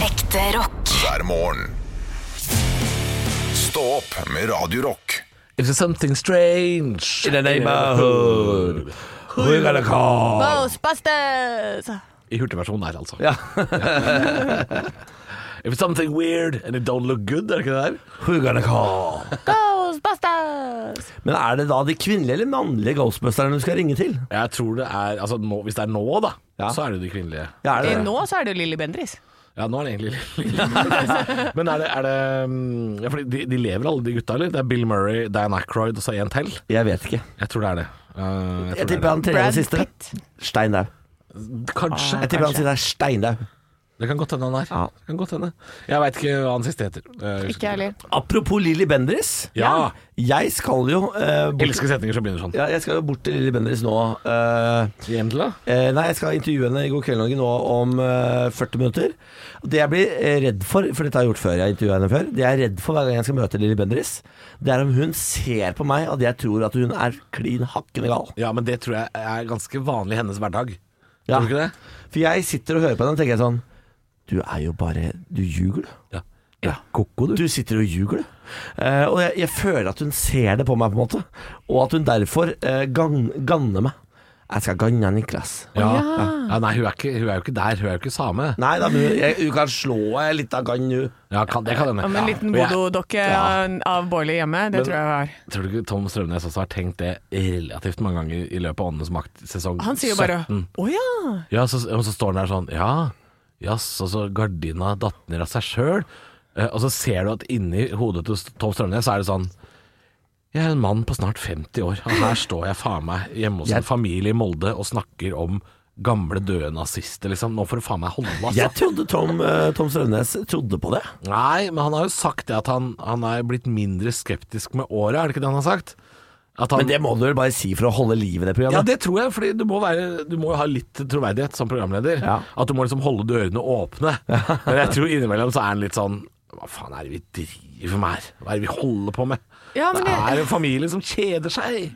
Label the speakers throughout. Speaker 1: Ekte rock.
Speaker 2: hver morgen. Stå opp med Radio Rock.
Speaker 3: If there's something strange
Speaker 4: In the neighborhood. We're gonna call.
Speaker 5: Ghostbusters!
Speaker 3: I hurtigversjonen her, altså.
Speaker 4: Ja.
Speaker 3: If it's something weird and it don't look good, er det ikke det der?
Speaker 4: We're gonna call.
Speaker 5: Ghostbusters!
Speaker 4: Men er det da de kvinnelige eller mannlige ghostbusterne du skal ringe til?
Speaker 3: Jeg tror det er Altså, nå, hvis det er nå, da,
Speaker 4: Ja.
Speaker 3: så er det jo de kvinnelige.
Speaker 4: Ja, er det det?
Speaker 5: Eh, Nå så er det jo Lilly Bendriss.
Speaker 3: Ja, nå er det egentlig Men er det, er det mm, ja, fordi de, de lever alle de gutta, eller? Det er Bill Murray, Dan Ackroyd og så en til?
Speaker 4: Jeg vet ikke.
Speaker 3: Jeg tror det er det. Eh, jeg
Speaker 4: Jeg
Speaker 3: tror det
Speaker 4: tipper
Speaker 3: er
Speaker 4: han tredje
Speaker 5: Brad
Speaker 4: og siste.
Speaker 5: Pitt.
Speaker 4: Steindaug.
Speaker 3: det. Kanskje.
Speaker 4: Jeg tipper han siste er Steindaug.
Speaker 3: Det kan godt hende han er.
Speaker 4: Ja.
Speaker 3: Det kan godt hende. Jeg veit ikke hva han siste heter. Eh,
Speaker 5: Ikke jeg heller.
Speaker 4: Apropos Lilly Bendriss.
Speaker 3: Ja.
Speaker 4: Jeg skal jo eh, bort
Speaker 3: Elsker setninger som begynner sånn.
Speaker 4: ja, jeg skal jo bort til Lilly Bendriss nå. eh,
Speaker 3: Jentla?
Speaker 4: eh, nei, jeg skal intervjue henne i God kveld Norge nå om eh, 40 minutter. Det jeg blir eh, redd for, for dette har jeg gjort før, jeg har intervjuet henne før Det jeg er redd for hver gang jeg skal møte Lilly Bendriss, det er om hun ser på meg at jeg tror at hun er klin hakkende gal.
Speaker 3: Ja, men det tror jeg er ganske vanlig i hennes hverdag.
Speaker 4: Ja.
Speaker 3: Tror du ikke det?
Speaker 4: For jeg sitter og hører på henne og tenker jeg sånn Du er jo bare Du ljuger, du.
Speaker 3: Ja.
Speaker 4: Ja. Koko, du. du sitter og ljuger, du. Eh, og jeg, jeg føler at hun ser det på meg, på en måte. Og at hun derfor eh, gang, ganner meg. Jeg skal ganne Niklas.
Speaker 3: Ja. Ja, nei, hun er, ikke, hun er jo ikke der. Hun er jo ikke same.
Speaker 4: Nei da, men jeg, hun kan slå ei lita gann, hun.
Speaker 3: Ja, kan, det kan hende.
Speaker 5: Om en liten
Speaker 3: Og jeg-
Speaker 5: vododokke av Boiler hjemme, det tror jeg var.
Speaker 3: Tror du ikke Tom Strømnes også har tenkt det relativt mange ganger i løpet av Åndenes makt sesong 17?
Speaker 5: Han sier jo bare 'Å ja'.
Speaker 3: Ja, så, og så står han der sånn Ja, jaså, så gardina datt ned av seg sjøl. Eh, og så ser du at inni hodet til Tom Strømnes så er det sånn Jeg er en mann på snart 50 år, og her står jeg faen meg hjemme hos
Speaker 4: Jeg-
Speaker 3: en familie i Molde og snakker om gamle døde nazister, liksom. Nå får du faen meg holde, altså.
Speaker 4: Jeg trodde Tom, eh, Tom Strømnes trodde på det.
Speaker 3: Nei, men han har jo sagt det at han, han er blitt mindre skeptisk med åra, er det ikke det han har sagt? At han,
Speaker 4: Men det må du vel bare si for å holde liv i det
Speaker 3: Ja,
Speaker 4: programmet.
Speaker 3: det tror jeg, fordi du må, være, du må jo ha litt troverdighet som programleder.
Speaker 4: Ja.
Speaker 3: At du må liksom holde dørene åpne. Men jeg tror innimellom så er han litt sånn Hva faen er det vi driver med her? Hva er det vi holder på med?
Speaker 5: Ja, men
Speaker 3: det
Speaker 5: det-
Speaker 3: er jo en familie som kjeder seg.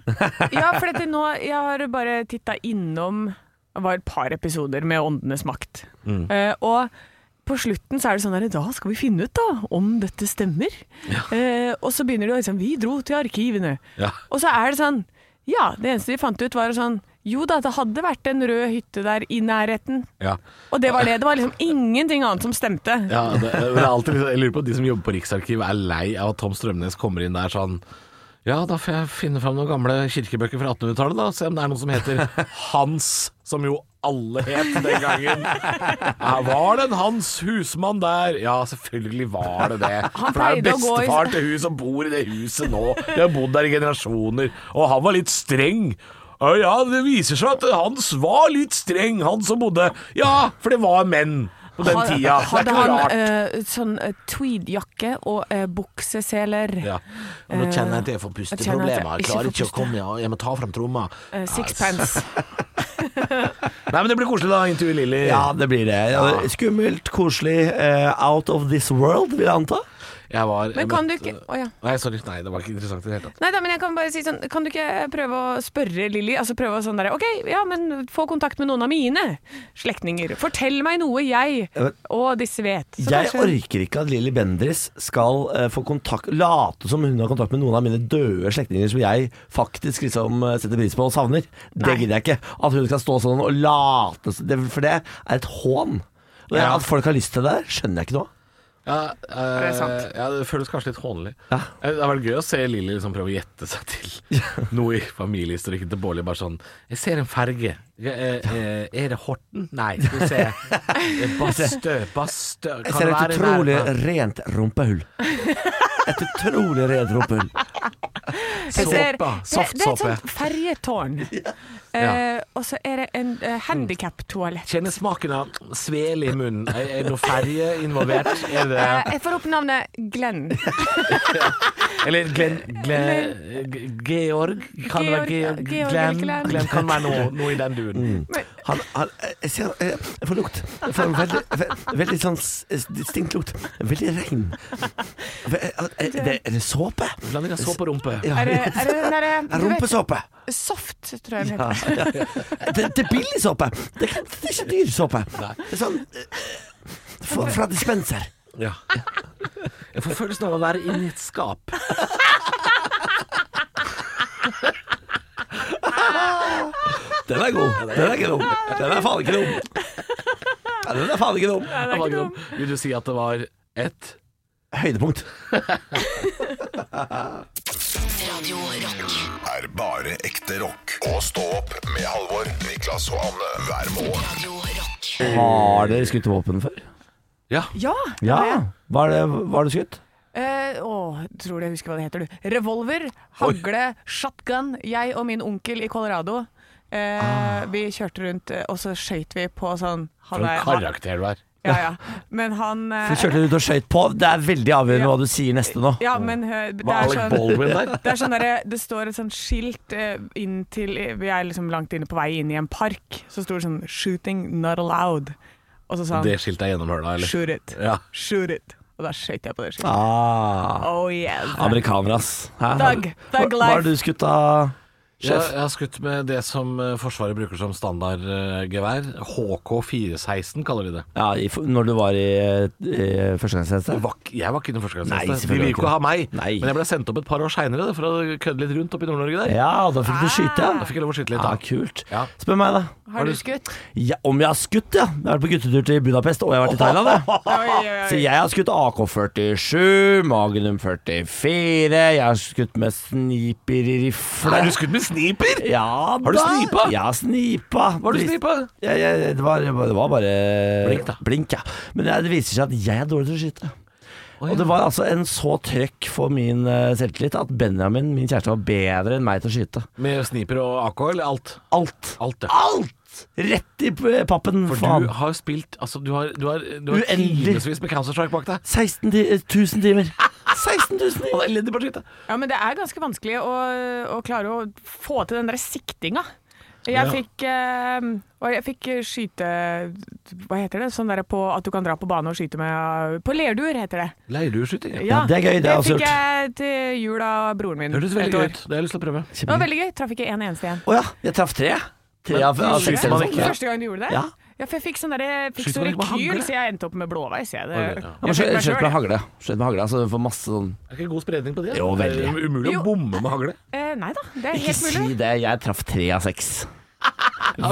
Speaker 5: ja for dette nå, jeg har bare titta innom Det var et par episoder med Åndenes makt. Eh, og på slutten så er det sånn der, Da skal vi finne ut da om dette stemmer. Eh, og så begynner de å liksom Vi dro til arkivene.
Speaker 3: Ja.
Speaker 5: Og så er det sånn Ja, det eneste de fant ut, var sånn Jo da, det hadde vært en rød hytte der i nærheten.
Speaker 3: Ja.
Speaker 5: Og det var det. Det var liksom ingenting annet som stemte.
Speaker 3: Ja, det, men det er alltid, litt- jeg lurer på at de som jobber på Riksarkivet er lei av at Tom Strømnes kommer inn der sånn Ja, da får jeg finne fram noen gamle kirkebøker fra 1800-tallet, da. og Se om det er noen som heter Hans, som jo alle het den gangen. Ja, var det en Hans husmann der? Ja, selvfølgelig var det det.
Speaker 5: Han
Speaker 3: For det er jo
Speaker 5: pleide å gå i-
Speaker 3: bestefar til hun som bor i det huset nå. De har bodd der i generasjoner. Og han var litt streng. Å Ja, det viser seg at Hans var litt streng, han som bodde Ja, for det var menn på den
Speaker 5: Had-
Speaker 3: tida. Det er
Speaker 5: Hadde
Speaker 3: ikke noe
Speaker 5: han
Speaker 3: rart.
Speaker 5: eh, sånn eh, tweedjakke og eh, bukseseler,
Speaker 3: Ja. Nå kjenner jeg at jeg får
Speaker 5: kjenner at jeg
Speaker 3: pusteproblemer. Jeg
Speaker 5: ikke
Speaker 3: klarer
Speaker 5: får
Speaker 3: ikke å
Speaker 5: puste.
Speaker 3: komme, jeg må ta fram tromma.
Speaker 5: eh, sixpence
Speaker 3: altså. Nei, men det blir koselig, da. Intervju Lilly.
Speaker 4: Ja, det blir det. Ja, det er Skummelt, koselig, eh, out of this world, vil jeg anta.
Speaker 3: Jeg var jeg
Speaker 5: Men kan du
Speaker 3: møtte-
Speaker 5: ikke Å ja.
Speaker 3: Nei, sorry. Nei, det var ikke interessant i det hele tatt.
Speaker 5: Nei da, men jeg kan bare si sånn Kan du ikke prøve å spørre Lilly? Altså prøve å sånn derre OK, ja, men få kontakt med noen av mine slektninger. Fortell meg noe jeg og disse vet. Så
Speaker 4: jeg
Speaker 5: kanskje-
Speaker 4: orker ikke at Lilly Bendriss skal eh, få kontakt late som hun har kontakt med noen av mine døde slektninger som jeg faktisk liksom eh, setter pris på og savner. Det
Speaker 5: Nei.
Speaker 4: gidder jeg ikke. At hun skal stå sånn og late som det- For det er et hån. Og
Speaker 3: Ja.
Speaker 4: At folk har lyst til det, skjønner jeg ikke noe av.
Speaker 3: Ja, eh,
Speaker 5: Det er sant.
Speaker 3: ja, det føles kanskje litt hånlig.
Speaker 4: Ja.
Speaker 3: Eh, Det har vært gøy å se Lilly liksom prøve å gjette seg til noe i familiehistorikken til Bårli. Bare sånn Jeg ser en ferge. Eh, eh, Er det Horten? Nei, skal vi se. Eh, Bastø, Bastø Kan
Speaker 4: Jeg ser
Speaker 3: det være
Speaker 4: et
Speaker 3: i
Speaker 4: utrolig
Speaker 3: nærheten?
Speaker 4: rent rumpehull. Et utrolig rent rumpehull.
Speaker 5: Jeg ser-
Speaker 3: Såpa.
Speaker 5: Det, det er et
Speaker 3: Saftsåpe.
Speaker 5: sånt ferjetårn. Eh, og så er det en eh, handikap-toalett.
Speaker 3: Kjenner smaken av svele i munnen. Er, er det noe ferge involvert? Er det
Speaker 5: Eh, jeg får opp navnet Glenn.
Speaker 3: Eller Glenn, Glenn Georg? Kan det være Georg?
Speaker 5: Georg, Georg
Speaker 3: Glenn,
Speaker 5: eller Glenn?
Speaker 3: Glenn kan være noe, noe i den duren.
Speaker 4: Han, han, jeg, ser, jeg får lukt. Jeg får en veldig, ve- veldig sånn s- distinkt lukt. Veldig rein. Ve- Er det, er det såpe?
Speaker 3: Blanding av såpe og rumpe.
Speaker 4: Ja.
Speaker 5: Er det, er det den derre
Speaker 4: Er
Speaker 5: du vet,
Speaker 4: Rumpesåpe.
Speaker 5: Soft, tror jeg den
Speaker 4: Ja,
Speaker 5: heter.
Speaker 4: ja. Det, det er billig såpe. Det, er ikke- det er ikke dyr såpe. Det er sånn eh, for, fra dispenser.
Speaker 3: Ja. Jeg får følelsen av å være inni et skap.
Speaker 4: Den er god. Den er ikke dum. Den er faen ikke dum. Ja, den er faen ikke dum.
Speaker 5: det er ikke dum.
Speaker 3: Vil du si at det var et
Speaker 4: Høydepunkt.
Speaker 1: Radio Rock.
Speaker 2: er bare ekte rock. Og stå opp med Halvor, Niklas og Anne hver morgen.
Speaker 1: Radio Rock.
Speaker 4: Har dere skutt våpen før?
Speaker 3: Ja.
Speaker 5: Ja.
Speaker 4: Ja.
Speaker 5: ja.
Speaker 4: Hva har det, hva er det skutt?
Speaker 5: Eh, åh, tror du jeg husker hva det heter, du. Revolver, hagle, shotgun. Jeg og min onkel i Colorado. Eh,
Speaker 4: Ah.
Speaker 5: Vi kjørte rundt, eh, og så skøyt vi på sånn han
Speaker 3: For en
Speaker 5: er- han-
Speaker 3: karakter du er.
Speaker 5: Ja, ja. Men han eh,
Speaker 4: Du kjørte rundt og skøyt på. Det er veldig avgjørende hva du sier neste nå.
Speaker 5: Ja, men eh, det
Speaker 3: Var
Speaker 5: er
Speaker 3: Alec
Speaker 5: sånn
Speaker 3: Baldwin der?
Speaker 5: det, er sånn derre- det står et sånt skilt eh, inn til Vi er liksom langt inne på vei inn i en park. Så sto det sånn 'Shooting not allowed'. Og så sa han
Speaker 3: Det skiltet er gjennomhøla, eller?
Speaker 5: 'Shoot it'.
Speaker 3: Ja.
Speaker 5: Shoot it. Og da skøyt jeg på det skiltet.
Speaker 4: Ah,
Speaker 5: Oh yes.
Speaker 4: Amerikaner, ass. Hæ?
Speaker 5: Thug. Thug
Speaker 4: Hva- Hva har
Speaker 5: life.
Speaker 4: du skutt av?
Speaker 3: Jeg, jeg har skutt med det som eh, Forsvaret bruker som standardgevær. HK416 kaller de det.
Speaker 4: Ja, i, f- når du var i, i førstegangstjeneste?
Speaker 3: Jeg var, ikke- jeg var ikke den
Speaker 4: Nei,
Speaker 3: førstegangstjeneste. De
Speaker 4: selvfølgelig
Speaker 3: ville
Speaker 4: ikke
Speaker 3: ikke ha meg.
Speaker 4: Nei.
Speaker 3: Men jeg ble sendt opp et par år seinere for å kødde litt rundt oppe i Nord-Norge der.
Speaker 4: Ja, Ah, og da fikk
Speaker 5: Ah.
Speaker 4: du skyte,
Speaker 3: Da
Speaker 4: ja.
Speaker 3: fikk jeg lov å skyte litt.
Speaker 4: Ja,
Speaker 3: Da.
Speaker 4: kult.
Speaker 3: Ja.
Speaker 4: Spør meg, da.
Speaker 5: Har du skutt?
Speaker 4: Ja, om jeg har skutt, ja. Jeg har vært på guttetur til Budapest, og jeg har vært i Thailand, jeg.
Speaker 5: Oi, oi,
Speaker 4: Så jeg har skutt AK-47, Magnum 44, jeg har skutt med sniper i rifle.
Speaker 3: Er du skutt med sniper?
Speaker 4: Ja da.
Speaker 3: Har du snipa?
Speaker 4: Ja, snipa.
Speaker 3: Var du snipa?
Speaker 4: Ja, ja, det, var, det var bare
Speaker 3: Blink, da.
Speaker 4: ja. Men det, det viser seg at jeg er dårlig til å skyte.
Speaker 3: Å, ja.
Speaker 4: Og det var altså en så trøkk for min eh, selvtillit at Benjamin, min kjæreste, var bedre enn meg til å skyte.
Speaker 3: Med sniper og AK eller alt?
Speaker 4: Alt!
Speaker 3: Alt, ja.
Speaker 4: Alt! Rett i p- pappen,
Speaker 3: For
Speaker 4: faen.
Speaker 3: du har jo spilt altså, Du har, du har, du har
Speaker 4: Uendelig.
Speaker 3: timevis med Counter-Strike bak deg.
Speaker 4: 16 ti- 000 timer.
Speaker 3: Han
Speaker 4: 16 000 timer!
Speaker 3: er elendig på å skyte.
Speaker 5: Ja, men det er ganske vanskelig å, å klare å få til den der siktinga. Jeg
Speaker 3: Ja.
Speaker 5: fikk eh, og jeg fikk skyte Hva heter det? Sånn der på at du kan dra på bane og skyte med På lerduer, heter det.
Speaker 3: Leirdueskyting. ja.
Speaker 4: Ja, det er gøy, det er absurd.
Speaker 5: fikk jeg til jul av broren min.
Speaker 3: Hørtes
Speaker 5: et
Speaker 3: veldig
Speaker 5: år.
Speaker 3: gøy ut. Det har jeg lyst til å prøve.
Speaker 5: Det var veldig gøy. Traff ikke en eneste igjen.
Speaker 4: Å ja, jeg traff tre. Tre av
Speaker 3: Men
Speaker 4: av
Speaker 3: skyter
Speaker 4: seks. eller
Speaker 3: man
Speaker 4: noe sånt.
Speaker 3: ikke?
Speaker 4: Ja.
Speaker 5: Første gang du gjorde det?
Speaker 4: Ja.
Speaker 5: for jeg fikk sånn derre Fikk
Speaker 3: Skyter
Speaker 5: så
Speaker 3: man ikke med
Speaker 5: rekyl,
Speaker 3: hagle?
Speaker 5: så jeg endte opp med blåveis. Jeg, det,
Speaker 3: Ok, ja.
Speaker 4: Ja,
Speaker 5: jeg
Speaker 4: men
Speaker 5: skjøt meg
Speaker 4: Skjøt
Speaker 5: selv,
Speaker 4: med
Speaker 5: jeg.
Speaker 4: hagle. Skjøt med hagle, så du får masse sånn
Speaker 3: Er ikke god spredning på det?
Speaker 4: Jo,
Speaker 3: Det er
Speaker 4: veldig.
Speaker 3: Umulig
Speaker 5: Jo.
Speaker 3: å bomme med hagle.
Speaker 5: Eh, nei da, det er
Speaker 4: Ikke
Speaker 5: helt mulig.
Speaker 4: si det, jeg traff tre av seks.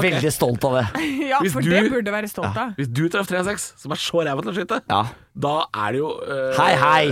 Speaker 4: Veldig stolt av det.
Speaker 5: Ja,
Speaker 3: Hvis
Speaker 5: for
Speaker 3: du-
Speaker 5: det burde du være stolt av.
Speaker 3: Hvis du traff 3-6, som er så ræva til å skyte,
Speaker 4: Ja.
Speaker 3: da er det jo eh,
Speaker 4: Hei, hei.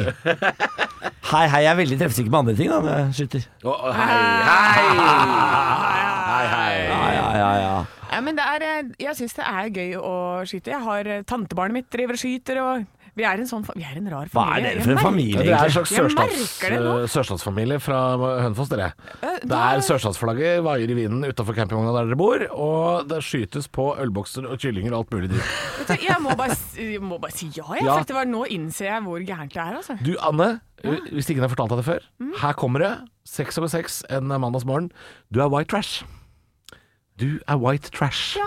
Speaker 4: Hei, hei. Jeg er veldig treffsikker med andre ting da, når jeg skyter.
Speaker 3: å, å, hei, hei. Hei,
Speaker 4: Ja,
Speaker 3: hei.
Speaker 4: ja, ja, ja.
Speaker 5: Ja, men det er, eh, jeg syns det er gøy å skyte. Jeg har eh, Tantebarnet mitt driver og skyter, og vi er en, sånn, fa- vi er en rar
Speaker 4: Hva er dere
Speaker 5: familie. Jeg
Speaker 4: for en
Speaker 5: merker-
Speaker 4: familie,
Speaker 3: Det er en
Speaker 4: egentlig?
Speaker 3: slags
Speaker 5: Jeg merker
Speaker 3: sørstads,
Speaker 5: det nå.
Speaker 3: eh, sørstatsfamilie fra Hønefoss, dere.
Speaker 5: Eh,
Speaker 3: Det
Speaker 5: da-
Speaker 3: er sørstatsflagget vaier i vinden utafor campingvogna der dere bor, og det skytes på ølbokser og kyllinger og alt mulig dritt.
Speaker 5: Vet du, Jeg må bare, s- jeg må bare si ja, jeg.
Speaker 3: Ja.
Speaker 5: For det var, nå innser jeg hvor gærent det er, altså.
Speaker 3: Du, Anne, eh, hvis ingen har fortalt deg det før,
Speaker 5: Mm.
Speaker 3: her kommer det. Seks over seks en mandagsmorgen. Du er white trash. Du er white trash.
Speaker 5: Ja.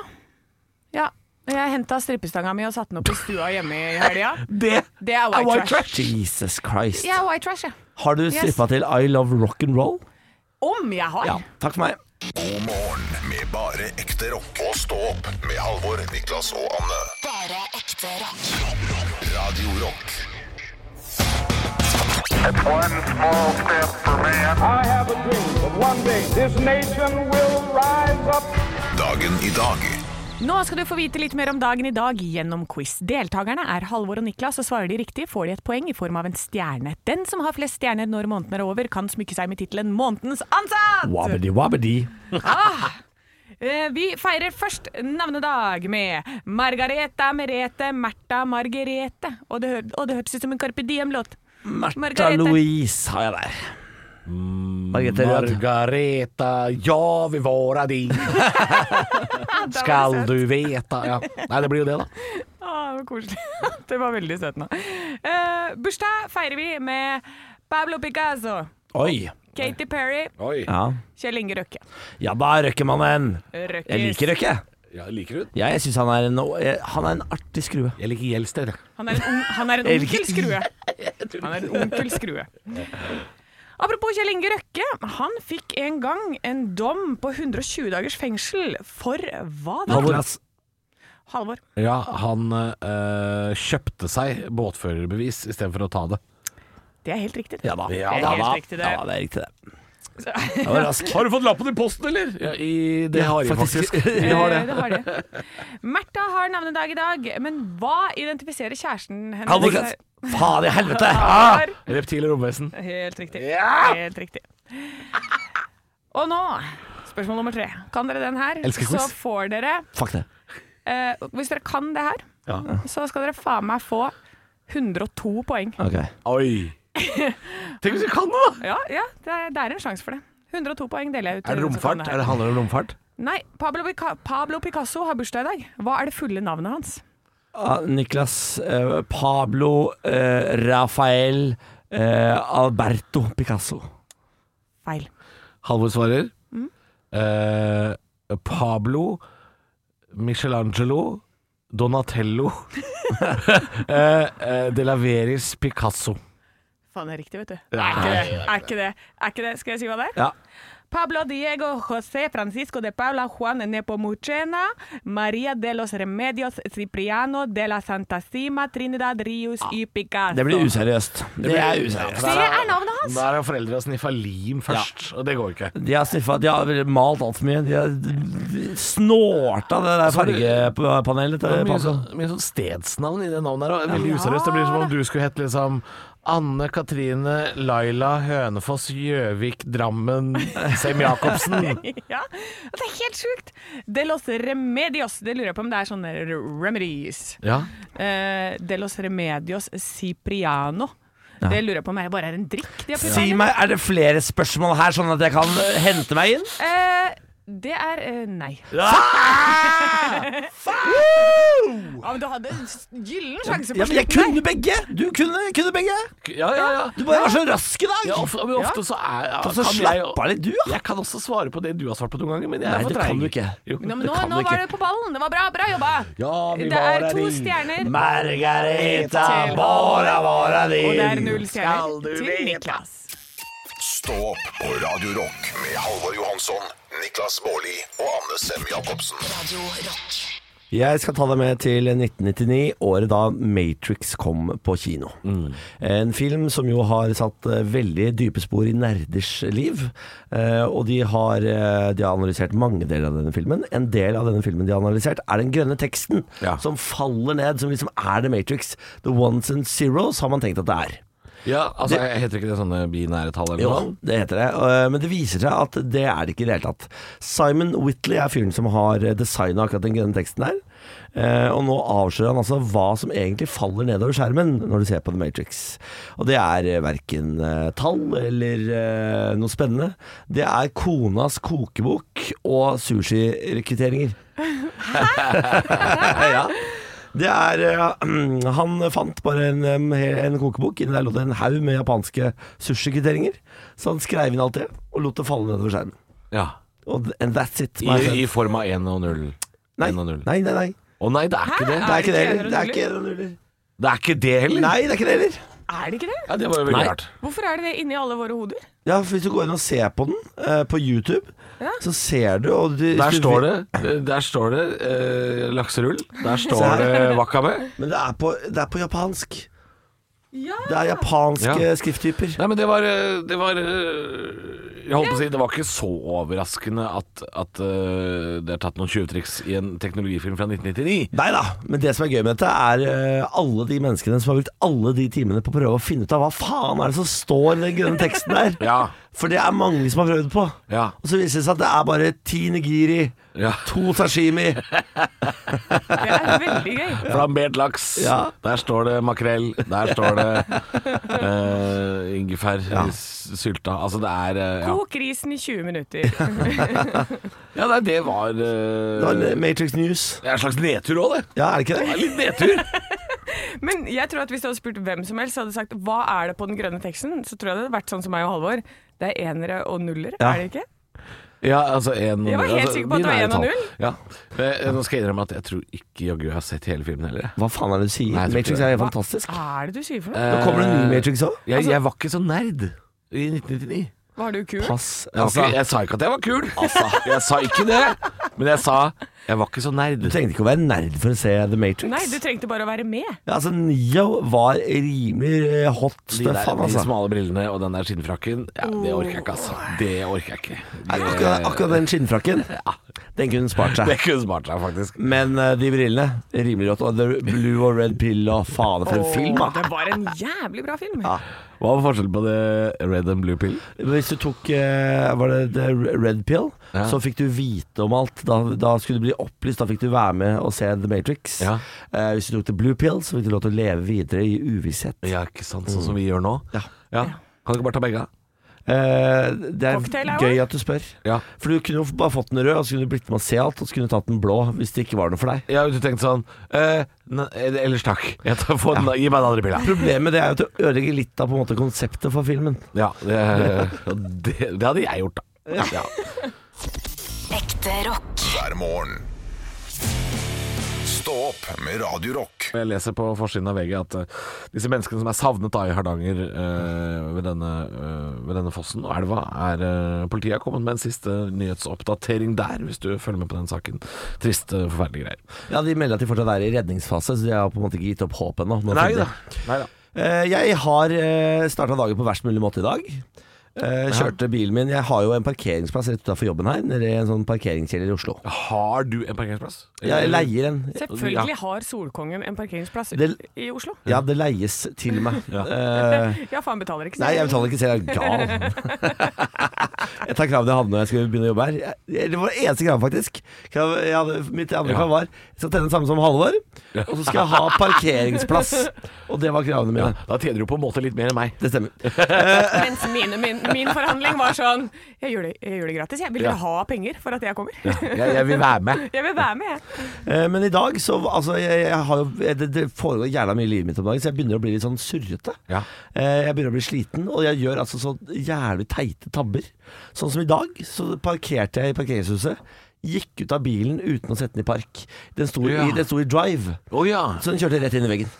Speaker 5: Ja. Jeg henta strippestanga mi og satte den opp i stua hjemme i helga.
Speaker 3: Det
Speaker 5: Det er
Speaker 3: er
Speaker 5: white,
Speaker 3: white
Speaker 5: trash.
Speaker 3: trash!
Speaker 4: Jesus Christ.
Speaker 5: Jeg er white trash, jeg.
Speaker 4: Har du strippa til I love rock'n'roll?
Speaker 5: Om jeg har.
Speaker 4: Ja. Takk for meg.
Speaker 2: God morgen med bare ekte rock. Og stå opp med Halvor, Niklas og Anne.
Speaker 1: Bare ekte rock.
Speaker 2: Radio Rock
Speaker 6: One small step for man.
Speaker 7: I have a dream that one day this nation will rise up.
Speaker 2: dagen i dag.
Speaker 5: Nå skal du få vite litt mer om dagen i dag gjennom quiz. Deltakerne er Halvor og Niklas, og svarer de riktig, får de et poeng i form av en stjerne. Den som har flest stjerner når måneden er over, kan smykke seg med tittelen 'Månedens ansatt'!
Speaker 4: Wabbedy wabbedy.
Speaker 5: Eh, Vi feirer først navnedag med Margareta, Merete, Märtha, Margerete. Og det, hør, og det hørtes ut som en Carpe Diem-låt.
Speaker 4: Märtha
Speaker 5: Margarete.
Speaker 4: Louise har jeg der. Margrethe Rød.
Speaker 3: Mm, Margareta, ja vi våra di, skal du veta ja. Nei, det blir jo det, da.
Speaker 5: Å, det var koselig. Det var veldig søtt nå. Eh, bursdag feirer vi med Pablo Picasso,
Speaker 4: Oi.
Speaker 5: Katy Perry,
Speaker 3: Oi.
Speaker 4: Ja.
Speaker 5: Kjell Inge Røkke.
Speaker 4: ja da, Røkkemannen.
Speaker 5: Røkkes.
Speaker 4: Jeg liker Røkke.
Speaker 3: Ja, liker du?
Speaker 4: Ja, jeg syns han, er en- han er en artig skrue.
Speaker 3: Jeg liker Gjelsten.
Speaker 5: Han er en, ung- han er en
Speaker 4: Jeg liker-
Speaker 5: onkel skrue. Han er en onkel skrue. Apropos Kjell Inge Røkke. Han fikk en gang en dom på 120 dagers fengsel for hva da?
Speaker 4: Halvor,
Speaker 5: Halvor.
Speaker 3: Ja, han eh, kjøpte seg båtførerbevis istedenfor å ta det.
Speaker 5: Det er helt riktig. det.
Speaker 4: Ja da.
Speaker 3: Ja
Speaker 5: det er
Speaker 3: da,
Speaker 5: helt
Speaker 3: da.
Speaker 5: riktig, det.
Speaker 4: Ja, det er riktig, det. Det var rask.
Speaker 3: Har du fått lappen i posten, eller? Ja, i, det har jeg faktisk.
Speaker 5: Eh,
Speaker 3: Vi har det.
Speaker 5: det, har det. Martha har navnedag i dag, men hva identifiserer kjæresten hennes
Speaker 4: Ja, det er klart. Faen i helvete!
Speaker 5: Halvor.
Speaker 3: Ah, Reptil og romvesen.
Speaker 5: Helt riktig. Helt riktig. Og nå, spørsmål nummer tre. Kan dere den her,
Speaker 3: Elsker
Speaker 5: så
Speaker 3: quiz.
Speaker 5: får dere
Speaker 4: Fuck det.
Speaker 5: eh, Hvis dere kan det her,
Speaker 3: Ja.
Speaker 5: så skal dere faen meg få 102 poeng.
Speaker 4: Ok.
Speaker 3: Oi. Tenk hvis vi kan det, da!
Speaker 5: Ja, ja det, er, det er en sjanse for det. 102 poeng deler jeg ut.
Speaker 3: Er det
Speaker 5: til den som kan
Speaker 3: romfart?
Speaker 5: her.
Speaker 3: Er det handler det om romfart?
Speaker 5: Nei, Pablo, Pica Pablo Picasso har bursdag i dag. Hva er det fulle navnet hans?
Speaker 4: Ah, Niklas, eh, Pablo, eh, Rafael, eh, Alberto Picasso.
Speaker 5: Feil.
Speaker 3: Halvor svarer.
Speaker 5: Mm.
Speaker 3: Eh, Pablo, Michelangelo, Donatello eh, eh, De la Veris Picasso.
Speaker 5: Faen, det er riktig, vet du.
Speaker 3: Nei.
Speaker 5: Er ikke det? Er ikke det? Er ikke det? Skal jeg si hva det er?
Speaker 4: Ja.
Speaker 5: Pablo Diego José Francisco de Paula Juan Nepomucena Maria de los Remedios Cipriano de la Santa Sima Trinidad Rius y
Speaker 4: Ah,
Speaker 5: Picasso.
Speaker 4: Det blir useriøst. Det er useriøst.
Speaker 5: Det er navnet hans!
Speaker 3: Der har foreldra sniffa lim først, og det går ikke.
Speaker 4: De har sniffa, de har vel malt altfor mye. De har snorta det der
Speaker 3: Så er det-
Speaker 4: fargepanelet
Speaker 3: Det er
Speaker 4: til
Speaker 3: mye,
Speaker 4: Picasso.
Speaker 3: sånn, mye sånn stedsnavn i det navnet her. og Veldig useriøst. Det blir som om du skulle hett liksom Anne Katrine Laila Hønefoss Gjøvik Drammen Sem-Jacobsen.
Speaker 5: Ja, Det er helt sjukt! De los Remedios. Det lurer jeg på om det er sånne remedies.
Speaker 3: Ja.
Speaker 5: Eh, de los Remedios Cipriano. Det lurer jeg på om jeg bare er en drikk de har puttet
Speaker 4: Si
Speaker 5: inn.
Speaker 4: meg, er det flere spørsmål her, sånn at jeg kan eh, hente meg
Speaker 3: Altså,
Speaker 4: inn?
Speaker 5: Eh, det er eh, nei.
Speaker 4: Ah!
Speaker 5: Ja, men du hadde en s- gyllen sjanse på
Speaker 4: Ja, men jeg
Speaker 5: slutten
Speaker 4: kunne begge! Du kunne, kunne begge!
Speaker 3: Ja, ja, ja.
Speaker 4: Du bare var så rask i dag!
Speaker 3: ja ofte, men ofte så er ja,
Speaker 4: Og så
Speaker 3: kan jeg jo-
Speaker 4: slapp av litt, du, da.
Speaker 3: Jeg kan også svare på det du har svart på noen ganger, men jeg
Speaker 4: Nei,
Speaker 3: er for
Speaker 4: det
Speaker 3: treig.
Speaker 4: kan du ikke.
Speaker 3: Jo.
Speaker 5: Nå, men
Speaker 4: Det
Speaker 5: nå,
Speaker 4: kan du
Speaker 5: nå var
Speaker 4: ikke.
Speaker 5: du på ballen. Det var bra. Bra jobba.
Speaker 3: Ja, vi
Speaker 5: Det er
Speaker 3: var
Speaker 5: to
Speaker 3: der i-
Speaker 5: stjerner,
Speaker 4: Margareta,
Speaker 5: Til-
Speaker 4: våra, våra di.
Speaker 5: og det er null
Speaker 3: Skal
Speaker 5: stjerner
Speaker 3: du
Speaker 5: til
Speaker 3: vite.
Speaker 5: Niklas.
Speaker 2: Stå opp på Radio Rock med Halvor Johansson, Niklas Baarli og Anne Sem Jacobsen.
Speaker 1: Radio Rock.
Speaker 4: Jeg skal ta deg med til 1999, året da Matrix kom på kino. En film som jo har satt eh, veldig dype spor i nerders liv. Eh, og de har, eh, de har analysert mange deler av denne filmen. En del av denne filmen de har analysert, er den grønne teksten
Speaker 3: Ja.
Speaker 4: som faller ned, som liksom er The Matrix. The ones and zeros har man tenkt at det er.
Speaker 3: Ja, altså, jeg heter ikke det sånne binære tall eller noe?
Speaker 4: Jo, det heter det. eh, Men det viser seg at det er det ikke i det hele tatt. Simon Whitley er fyren som har designa akkurat den grønne teksten her. Eh, Og nå avslører han altså hva som egentlig faller nedover skjermen når du ser på The Matrix. Og det er verken tall eller eh, noe spennende. Det er konas kokebok og sushirekvitteringer. ja. Det er eh, Han fant bare en, em, he- en kokebok. Inni der lå det en haug med japanske sushikvitteringer. Så han skrev inn alt det, og lot det falle nedover skjermen.
Speaker 3: Ja.
Speaker 4: Og th- and that's it. my friend.
Speaker 3: I, I form av 1 og 0.
Speaker 4: nei,
Speaker 3: en og
Speaker 4: nei,
Speaker 3: null.
Speaker 4: nei, nei.
Speaker 3: Å nei, det er ikke det.
Speaker 4: Det er
Speaker 5: det
Speaker 4: ikke det
Speaker 5: ikke
Speaker 4: heller. Det er ikke
Speaker 5: en
Speaker 4: en og nuller.
Speaker 3: Det er ikke det heller.
Speaker 4: Nei, det er ikke det heller.
Speaker 5: Er det ikke det?
Speaker 3: Ja, det var jo veldig
Speaker 4: Nei.
Speaker 3: rart.
Speaker 5: Hvorfor er det det inni alle våre hoder?
Speaker 4: Ja, for Hvis du går inn og ser på den eh, på YouTube, så ser du og du,
Speaker 3: Der
Speaker 4: hvis du-
Speaker 3: står det, der står det eh, lakserull. Der
Speaker 4: Se
Speaker 3: står
Speaker 4: her.
Speaker 3: det wakame.
Speaker 4: Men det er, på, det er på japansk.
Speaker 5: Ja.
Speaker 4: Det er japanske
Speaker 3: Ja.
Speaker 4: skrifttyper.
Speaker 3: Nei, men det var, eh, det var eh, Jeg holdt på å si, det var ikke så overraskende at, at eh, det er tatt noen tjuvtriks i en teknologifilm fra 1999.
Speaker 4: Nei da, men det som er gøy med dette, er eh, alle de menneskene som har brukt alle de timene på å prøve å finne ut av hva faen er det som står i den grønne teksten der.
Speaker 3: Ja.
Speaker 4: For det er mange som har prøvd på.
Speaker 3: Ja.
Speaker 4: Og så viser det seg at det er bare ti nigiri,
Speaker 3: Ja.
Speaker 4: to sashimi.
Speaker 5: Det er veldig gøy.
Speaker 3: Flambert laks.
Speaker 4: Ja.
Speaker 3: Der står det makrell. Der står det eh, ingefær s- sylta. Altså, det er eh, ja.
Speaker 5: Kok risen i 20 minutter.
Speaker 3: ja, nei, det var eh,
Speaker 4: Det var Matrix News.
Speaker 3: Det er en slags nedtur òg, det.
Speaker 4: Ja, er det ikke
Speaker 3: Det
Speaker 4: det?
Speaker 3: er Litt nedtur.
Speaker 5: Men jeg tror at hvis du hadde spurt hvem som helst, så hadde du sagt hva er det på den grønne teksten, så tror jeg det hadde vært sånn som meg og Halvor. Det er enere og nuller,
Speaker 4: Ja.
Speaker 5: er det ikke?
Speaker 3: Ja, altså en,
Speaker 5: Jeg var helt
Speaker 3: altså,
Speaker 5: sikker på at det var
Speaker 3: binære
Speaker 5: en og
Speaker 3: tall.
Speaker 5: null.
Speaker 3: Ja. Eh, Nå skal jeg innrømme at jeg tror ikke jaggu jeg har sett hele filmen heller. jeg.
Speaker 4: Hva faen er det du sier?
Speaker 3: Nei, jeg tror ikke
Speaker 4: Matrix
Speaker 3: det.
Speaker 4: er helt fantastisk.
Speaker 5: Hva er det du sier for noe?
Speaker 4: Nå kommer det en ny Altså- Matrix òg.
Speaker 3: Eh, Jeg, jeg var ikke så nerd i 1999.
Speaker 5: Var du kul?
Speaker 4: Pass.
Speaker 3: Jeg, var
Speaker 4: Altså,
Speaker 3: ikke, jeg sa ikke at jeg var kul. Jeg sa ikke det, men jeg sa Jeg var ikke så nerd.
Speaker 4: Du trengte ikke å være nerd for å se The Matrix.
Speaker 5: Nei, du trengte bare å være med.
Speaker 4: ja, altså, Neo var rimelig eh, hot
Speaker 3: De, der,
Speaker 4: stuff, han,
Speaker 3: de
Speaker 4: altså.
Speaker 3: smale brillene og den der skinnfrakken, ja, det orker jeg ikke, altså. Det orker jeg ikke.
Speaker 4: Nei, Akkurat, akkurat den skinnfrakken, den kunne hun spart
Speaker 3: Det
Speaker 4: seg.
Speaker 3: kunne smart seg, faktisk.
Speaker 4: Men eh, de brillene, rimelig rått. Og The Blue og Red Pill og faen for en film,
Speaker 5: Åh,
Speaker 4: da.
Speaker 5: Det var en jævlig bra film.
Speaker 3: Hva var forskjellen på det red and blue pill?
Speaker 4: Hvis du tok eh, Var det the Red Pill,
Speaker 3: Ja.
Speaker 4: så fikk du vite om alt. Da, da skulle du bli opplyst, da fikk du være med og se The Matrix.
Speaker 3: Ja.
Speaker 4: Eh, hvis du tok The Blue Pill, så fikk du lov til å leve videre i uvisshet.
Speaker 3: Ja, ikke sant, sånn som vi gjør nå.
Speaker 4: Ja.
Speaker 3: Kan du ikke bare ta begge?
Speaker 4: Eh, det er
Speaker 5: Cocktail er
Speaker 4: gøy
Speaker 5: også.
Speaker 4: at du spør.
Speaker 3: Ja.
Speaker 4: For du kunne jo bare fått den rød, og så kunne du blitt med og se alt, og så kunne du tatt den blå hvis det ikke var noe for deg.
Speaker 3: Jeg har tenkt sånn eh, ne, Ellers takk. Jeg tar, få den, Gi meg den andre pilla.
Speaker 4: Problemet det er jo at du ødelegger litt av på en måte konseptet for filmen.
Speaker 3: Ja, det, det, det hadde jeg gjort, da. Ja.
Speaker 1: Ekte rock.
Speaker 2: hver morgen. Stå opp med Radio Rock.
Speaker 3: Jeg leser på forsiden av VG at eh, disse menneskene som er savnet da i Hardanger eh, ved, denne, eh, ved denne fossen og elva, er eh, politiet har kommet med en siste nyhetsoppdatering der, hvis du følger med på den saken. Triste, forferdelige greier.
Speaker 4: Ja, De melder at de fortsatt er i redningsfase, så de har på en måte ikke gitt opp håpet ennå. men
Speaker 3: Neida. Neida.
Speaker 4: Eh, Jeg har starta dagen på verst mulig måte i dag. Eh, Kjørte bilen min Jeg har jo en parkeringsplass rett utafor jobben her, nede i en sånn parkeringskjeller i Oslo.
Speaker 3: Har du en parkeringsplass?
Speaker 4: Jeg leier en.
Speaker 5: Selvfølgelig har Solkongen en parkeringsplass
Speaker 4: Det-
Speaker 5: i Oslo.
Speaker 4: Ja, det leies til meg.
Speaker 3: Ja.
Speaker 4: Eh,
Speaker 5: Ja, faen betaler ikke
Speaker 4: nei, jeg betaler ikke selv, jeg er gal. jeg tar kravet jeg hadde når jeg skulle begynne å jobbe her. Jeg- Det var det eneste kravet, faktisk. Krav jeg hadde, mitt andre
Speaker 3: Ja.
Speaker 4: krav var jeg skal tjene det samme som Halvor, og så skal jeg ha parkeringsplass. Og det var kravene
Speaker 3: Ja,
Speaker 4: mine.
Speaker 3: da tjener du på en måte litt mer enn meg.
Speaker 4: Det stemmer.
Speaker 5: Mens mine, min, min forhandling var sånn Jeg gjør det, jeg gjør det gratis, jeg. Vil
Speaker 3: Ja.
Speaker 5: dere ha penger for at jeg kommer?
Speaker 3: Jeg, jeg vil være med.
Speaker 5: Jeg vil være med, jeg.
Speaker 4: Eh, Men i dag så Altså, jeg, jeg har jo det, det foregår jævla mye i livet mitt om dagen, så jeg begynner å bli litt sånn surrete.
Speaker 3: Ja.
Speaker 4: Eh, Jeg begynner å bli sliten, og jeg gjør altså så jævlig teite tabber. Sånn som i dag, så parkerte jeg i parkeringshuset. Gikk ut av bilen uten å sette den i park. Den sto,
Speaker 3: Ja.
Speaker 4: i, den sto i drive,
Speaker 3: Å ja.
Speaker 4: så den kjørte rett inn i veggen.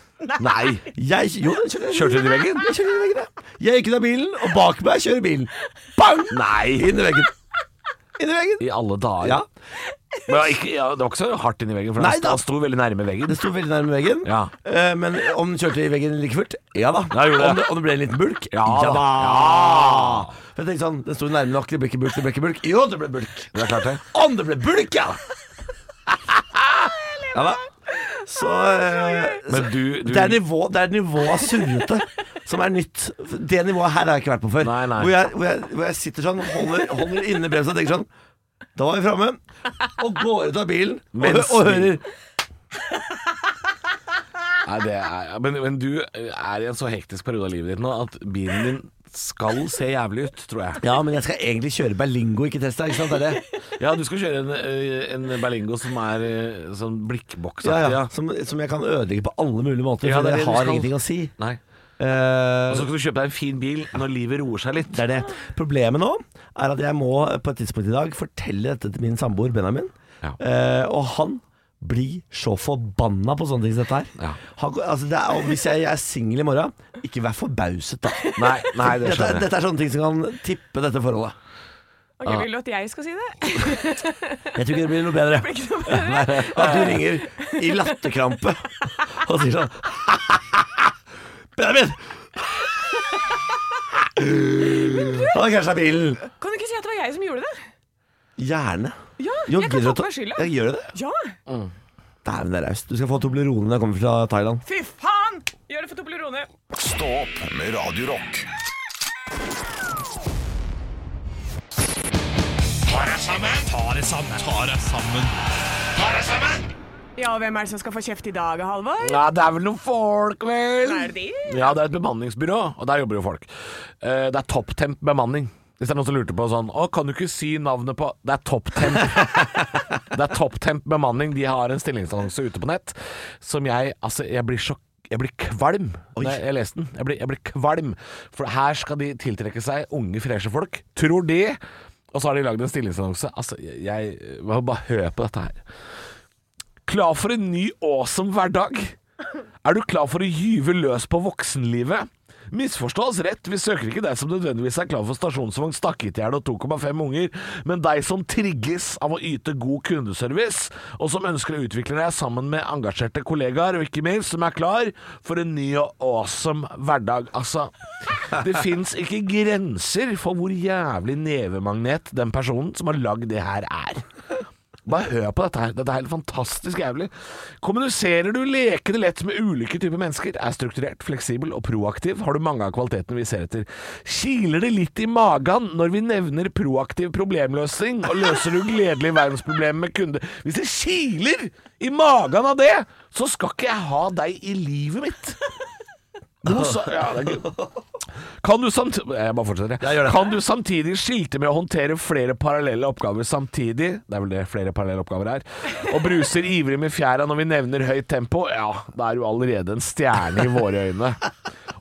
Speaker 3: Nei.
Speaker 4: Jeg, jo, den kjørte,
Speaker 3: Kjørte den i veggen?
Speaker 4: Jeg kjørte inn i veggen, ja. Jeg gikk ut av bilen, og bak meg kjører bilen. Bang!
Speaker 3: Nei.
Speaker 4: Inn i veggen. Inn i veggen.
Speaker 3: I alle dager.
Speaker 4: Ja.
Speaker 3: Men det var ikke, ja, det var ikke så hardt inni veggen, for
Speaker 4: Nei
Speaker 3: han sto-
Speaker 4: da.
Speaker 3: han sto veldig nærme veggen.
Speaker 4: Den sto veldig nærme veggen,
Speaker 3: Ja.
Speaker 4: Eh, men om den kjørte i veggen like fullt? Ja da.
Speaker 3: Ja, gjorde det.
Speaker 4: Om, det, om det ble en liten bulk?
Speaker 3: Ja da.
Speaker 4: Ja. For Jeg tenkte sånn, Den sto nærme nok, det ble ikke bulk, det ble ikke bulk. Jo, det ble bulk.
Speaker 3: Det er klart det.
Speaker 4: Om det ble bulk, ja! ja da. Så, eh,
Speaker 3: Men du, du
Speaker 4: det er nivå, det er nivå av surrete som er nytt. Det nivået her har jeg ikke vært på før.
Speaker 3: Nei, nei.
Speaker 4: Hvor, jeg, hvor, jeg, hvor jeg sitter sånn, holder, holder inne bremsa og tenker sånn Da var vi framme. Og går ut av bilen og, hø-
Speaker 3: Mens vi-
Speaker 4: og hører
Speaker 3: Nei, det er, men, men du er i en så hektisk periode av livet ditt nå at bilen din skal se jævlig ut, tror jeg.
Speaker 4: Ja, men jeg skal egentlig kjøre Berlingo, ikke Testa. Ikke sant? Det er det.
Speaker 3: Ja, du skal kjøre en, eh, en Berlingo som er eh, sånn
Speaker 4: Ja,
Speaker 3: blikkboksaktig.
Speaker 4: ja.
Speaker 3: Ja,
Speaker 4: Som, som jeg kan ødelegge på alle mulige måter,
Speaker 3: Ja,
Speaker 4: for
Speaker 3: det er
Speaker 4: jeg
Speaker 3: det du
Speaker 4: har
Speaker 3: skal. Altså,
Speaker 4: ingenting å si.
Speaker 3: Nei.
Speaker 4: Eh,
Speaker 3: Og så skal du kjøpe deg en fin bil når livet roer seg litt.
Speaker 4: det er det. Problemet nå er at jeg må på et tidspunkt i dag fortelle dette til min samboer Benjamin.
Speaker 3: Ja.
Speaker 4: Eh, og han blir så forbanna på sånne ting som dette her.
Speaker 3: Ja.
Speaker 4: Han går- altså det er, og hvis jeg, jeg er singel i morgen, ikke vær forbauset, da.
Speaker 3: Nei, nei, det
Speaker 4: Dette, er-
Speaker 3: skjønner jeg.
Speaker 4: dette er sånne ting som kan tippe dette forholdet.
Speaker 5: Ok, Vil du at jeg skal si det?
Speaker 4: Jeg tror ikke det blir noe bedre. At du ringer i latterkrampe og sier sånn Benjamin! Han krasja bilen.
Speaker 5: Kan du ikke si at det var jeg som gjorde det?
Speaker 4: Gjerne.
Speaker 5: Ja,
Speaker 4: Jo,
Speaker 5: jeg kan
Speaker 4: gidder
Speaker 5: ta
Speaker 4: du
Speaker 5: på
Speaker 4: å
Speaker 5: meg skylda.
Speaker 4: Ja, gjør du det?
Speaker 5: Ja!
Speaker 4: Dæven, det er raust. Du skal få Toblerone når jeg kommer fra Thailand.
Speaker 5: Fy faen! Gjør det for Toblerone.
Speaker 2: Stå opp med Radio Rock.
Speaker 5: Ja, hvem er det som skal få kjeft i dag, Halvor?
Speaker 3: Ja, det er vel noen folk, vel?
Speaker 5: Er det de?
Speaker 3: Ja, det er et bemanningsbyrå, og der jobber jo folk. Eh, Det er topptemp bemanning. Hvis det er noen som lurte på sånn Å, kan du ikke si navnet på Det er topptemp. det er topptemp bemanning. De har en stillingsannonse ute på nett som jeg Altså, jeg blir sjokk... Jeg blir kvalm når jeg- jeg leste den. Jeg blir, jeg blir kvalm. For her skal de tiltrekke seg unge, freshe folk. Tror de. Og så har de lagd en stillingsannonse. Altså, jeg, jeg må Bare hør på dette her. Klar for en ny awesome hverdag? Er du klar for å gyve løs på voksenlivet? Misforstås rett, vi søker ikke deg som nødvendigvis er klar for stasjonsvogn, stakketjern og 2,5 unger, men deg som trigges av å yte god kundeservice, og som ønsker å utvikle deg sammen med engasjerte kollegaer, og ikke minst som er klar for en ny og awesome hverdag. Altså, det fins ikke grenser for hvor jævlig nevemagnet den personen som har lagd det her, er. Bare hør på dette her. Dette er helt fantastisk jævlig. Kommuniserer du lekende lett med ulike typer mennesker, er strukturert, fleksibel og proaktiv, har du mange av kvalitetene vi ser etter. Kiler det litt i magen når vi nevner proaktiv problemløsning, og løser du gledelige verdensproblemer med kunde Hvis det kiler i magen av det, så skal ikke jeg ha deg i livet mitt. God sa- ja, det er gøy. Kan du, samt jeg bare fortsetter, jeg.
Speaker 4: Ja, gjør det.
Speaker 3: kan du samtidig skilte med å håndtere flere parallelle oppgaver samtidig Det er vel det flere parallelle oppgaver er. Og bruser ivrig med fjæra når vi nevner høyt tempo. Ja, da er du allerede en stjerne i våre øyne.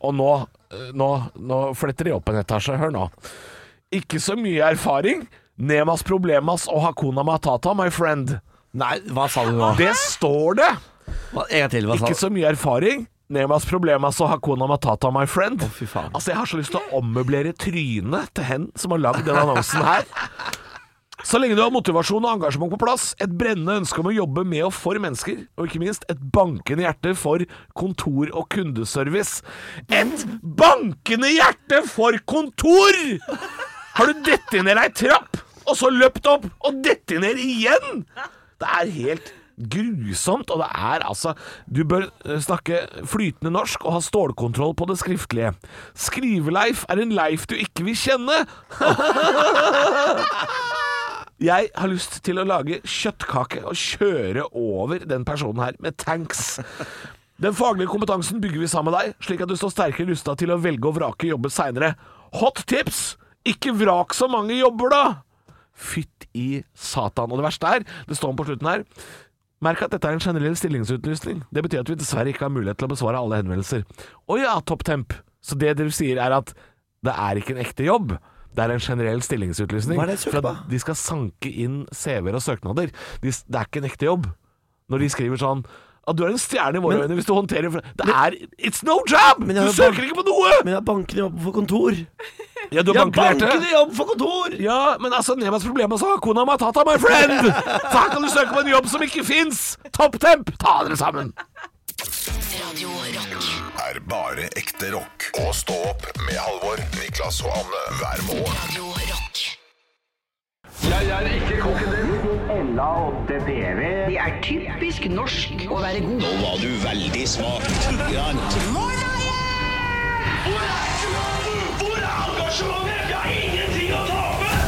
Speaker 3: Og nå, nå, nå fletter de opp en etasje. Hør nå. Ikke så mye erfaring. Nemas problemas og hakuna matata, my friend.
Speaker 4: Nei, hva sa du nå?
Speaker 3: Det står det!
Speaker 4: Hva- En gang til, hva sa
Speaker 3: Ikke
Speaker 4: du?
Speaker 3: så mye erfaring. Nemas problem altså Hakuna Matata, my friend.
Speaker 4: fy faen.
Speaker 3: Altså, Jeg har så lyst til å ommøblere trynet til hen som har lagd den annonsen her. Så lenge du har motivasjon og engasjement på plass, et brennende ønske om å jobbe med og for mennesker, og ikke minst et bankende hjerte for kontor og kundeservice. Et bankende hjerte for kontor! Har du dettet ned ei trapp, og så løpt opp, og dettet ned igjen? Det er helt grusomt, og det er altså Du bør eh, snakke flytende norsk og ha stålkontroll på det skriftlige. Skrive-Leif er en Leif du ikke vil kjenne. Jeg har lyst til å lage kjøttkake og kjøre over den personen her med tanks. Den faglige kompetansen bygger vi sammen med deg, slik at du står sterkere rusta til å velge og vrake jobber seinere. Hot tips! Ikke vrak så mange jobber, da! Fytt i satan. Og det verste er, det står om på slutten her Merk at dette er en generell stillingsutlysning. Det betyr at vi dessverre ikke har mulighet til å besvare alle henvendelser. Å ja, topp temp. Så det dere sier er at det er ikke en ekte jobb. Det er en generell stillingsutlysning.
Speaker 4: Hva er det jeg søker
Speaker 3: For at
Speaker 4: på?
Speaker 3: De skal sanke inn CV-er og søknader. De, s- det er ikke en ekte jobb. Når de skriver sånn at du er en stjerne i våre øyne hvis du håndterer fl- Det er It's no job! Du
Speaker 4: Men jeg har jo
Speaker 3: søker ikke på noe!
Speaker 4: Men jeg har bankende jobb for kontor.
Speaker 3: Ja, du har
Speaker 4: Jeg har
Speaker 3: bankert det.
Speaker 4: bankende jobb for kontor!
Speaker 3: Ja, men altså, Nemas problem er så Hakuna Matata, my friend! Så her kan du søke på en jobb som ikke fins! Topp temp! Ta dere sammen!
Speaker 1: Radio Rock.
Speaker 2: er bare ekte rock. Og stå opp med Halvor, Niklas og Anne hver morgen.
Speaker 1: Radio Rock.
Speaker 8: Det er typisk norsk å være god.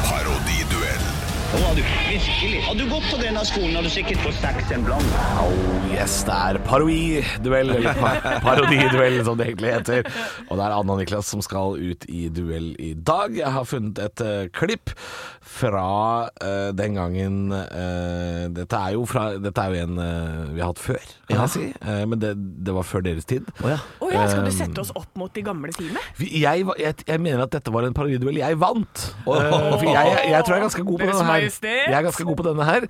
Speaker 2: Parodiduell.
Speaker 3: Yes, det er parodiduell, eller pa- parodiduell som det egentlig heter. Og det er Anna og Niklas som skal ut i duell i dag. Jeg har funnet et eh, klipp fra eh, den gangen eh, dette, er jo fra, dette er jo en eh, vi har hatt før, kan jeg si. Eh, men det, det var før deres tid.
Speaker 4: Å ja.
Speaker 5: Å ja, skal du
Speaker 4: Ehm.
Speaker 5: sette oss opp mot de gamle teamet?
Speaker 3: Vi- Jeg, var- jeg, jeg mener at dette var en parodiduell jeg vant. Eh, for jeg, jeg, jeg tror jeg er ganske god på
Speaker 5: Deres
Speaker 3: denne her.
Speaker 5: Majestet.
Speaker 3: Jeg er ganske god på denne her.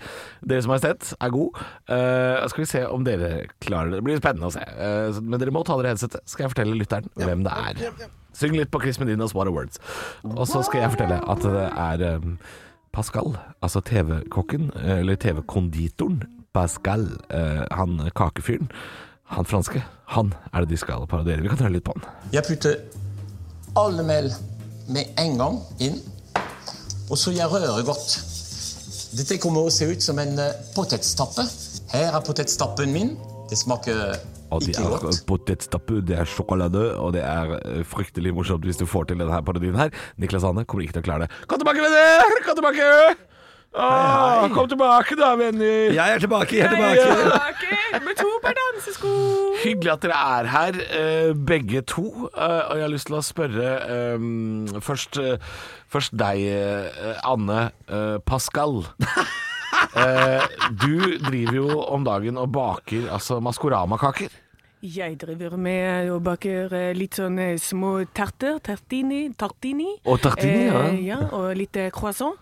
Speaker 3: Deres Majestet er god. Eh, skal vi se om dere klarer det. Det blir spennende å se. Eh, så- men dere må ta dere headsetet. Skal jeg fortelle lytteren hvem det er. Syng litt på Chris Medinas What a Words. Og så skal jeg fortelle at det er eh, Pascal, altså TV-kokken, eh, eller TV-konditoren Pascal, eh, han kakefyren, han franske, han er det de skal parodiere. Vi kan høre litt på han.
Speaker 9: Jeg putter alle mel med en gang inn, og så jeg rører godt. Dette kommer å se ut som en eh, potetstappe. Her er potetstappen min. Det smaker
Speaker 3: Og det
Speaker 9: ikke
Speaker 3: er
Speaker 9: godt.
Speaker 3: potetstappe, det er sjokolade, og det er eh, fryktelig morsomt hvis du får til denne her parodien her. Niklas Anne kommer ikke til å klare det. Kom tilbake, venner! Kom tilbake! Åh, Kom tilbake da, venner!
Speaker 4: Jeg er tilbake, jeg er
Speaker 5: Nei,
Speaker 4: tilbake.
Speaker 5: tilbake med to per dansesko!
Speaker 3: Hyggelig at dere er her, eh, begge to. Eh, Og jeg har lyst til å spørre eh, først, eh, først deg, eh, Anne eh, Pascal. Eh, Du driver jo om dagen og baker altså maskorama-kaker.
Speaker 5: Jeg driver med og baker eh, litt sånne små terter. Tartini. tartini.
Speaker 4: Og tartini, ja.
Speaker 5: Eh, ja. Og litt eh, croissant.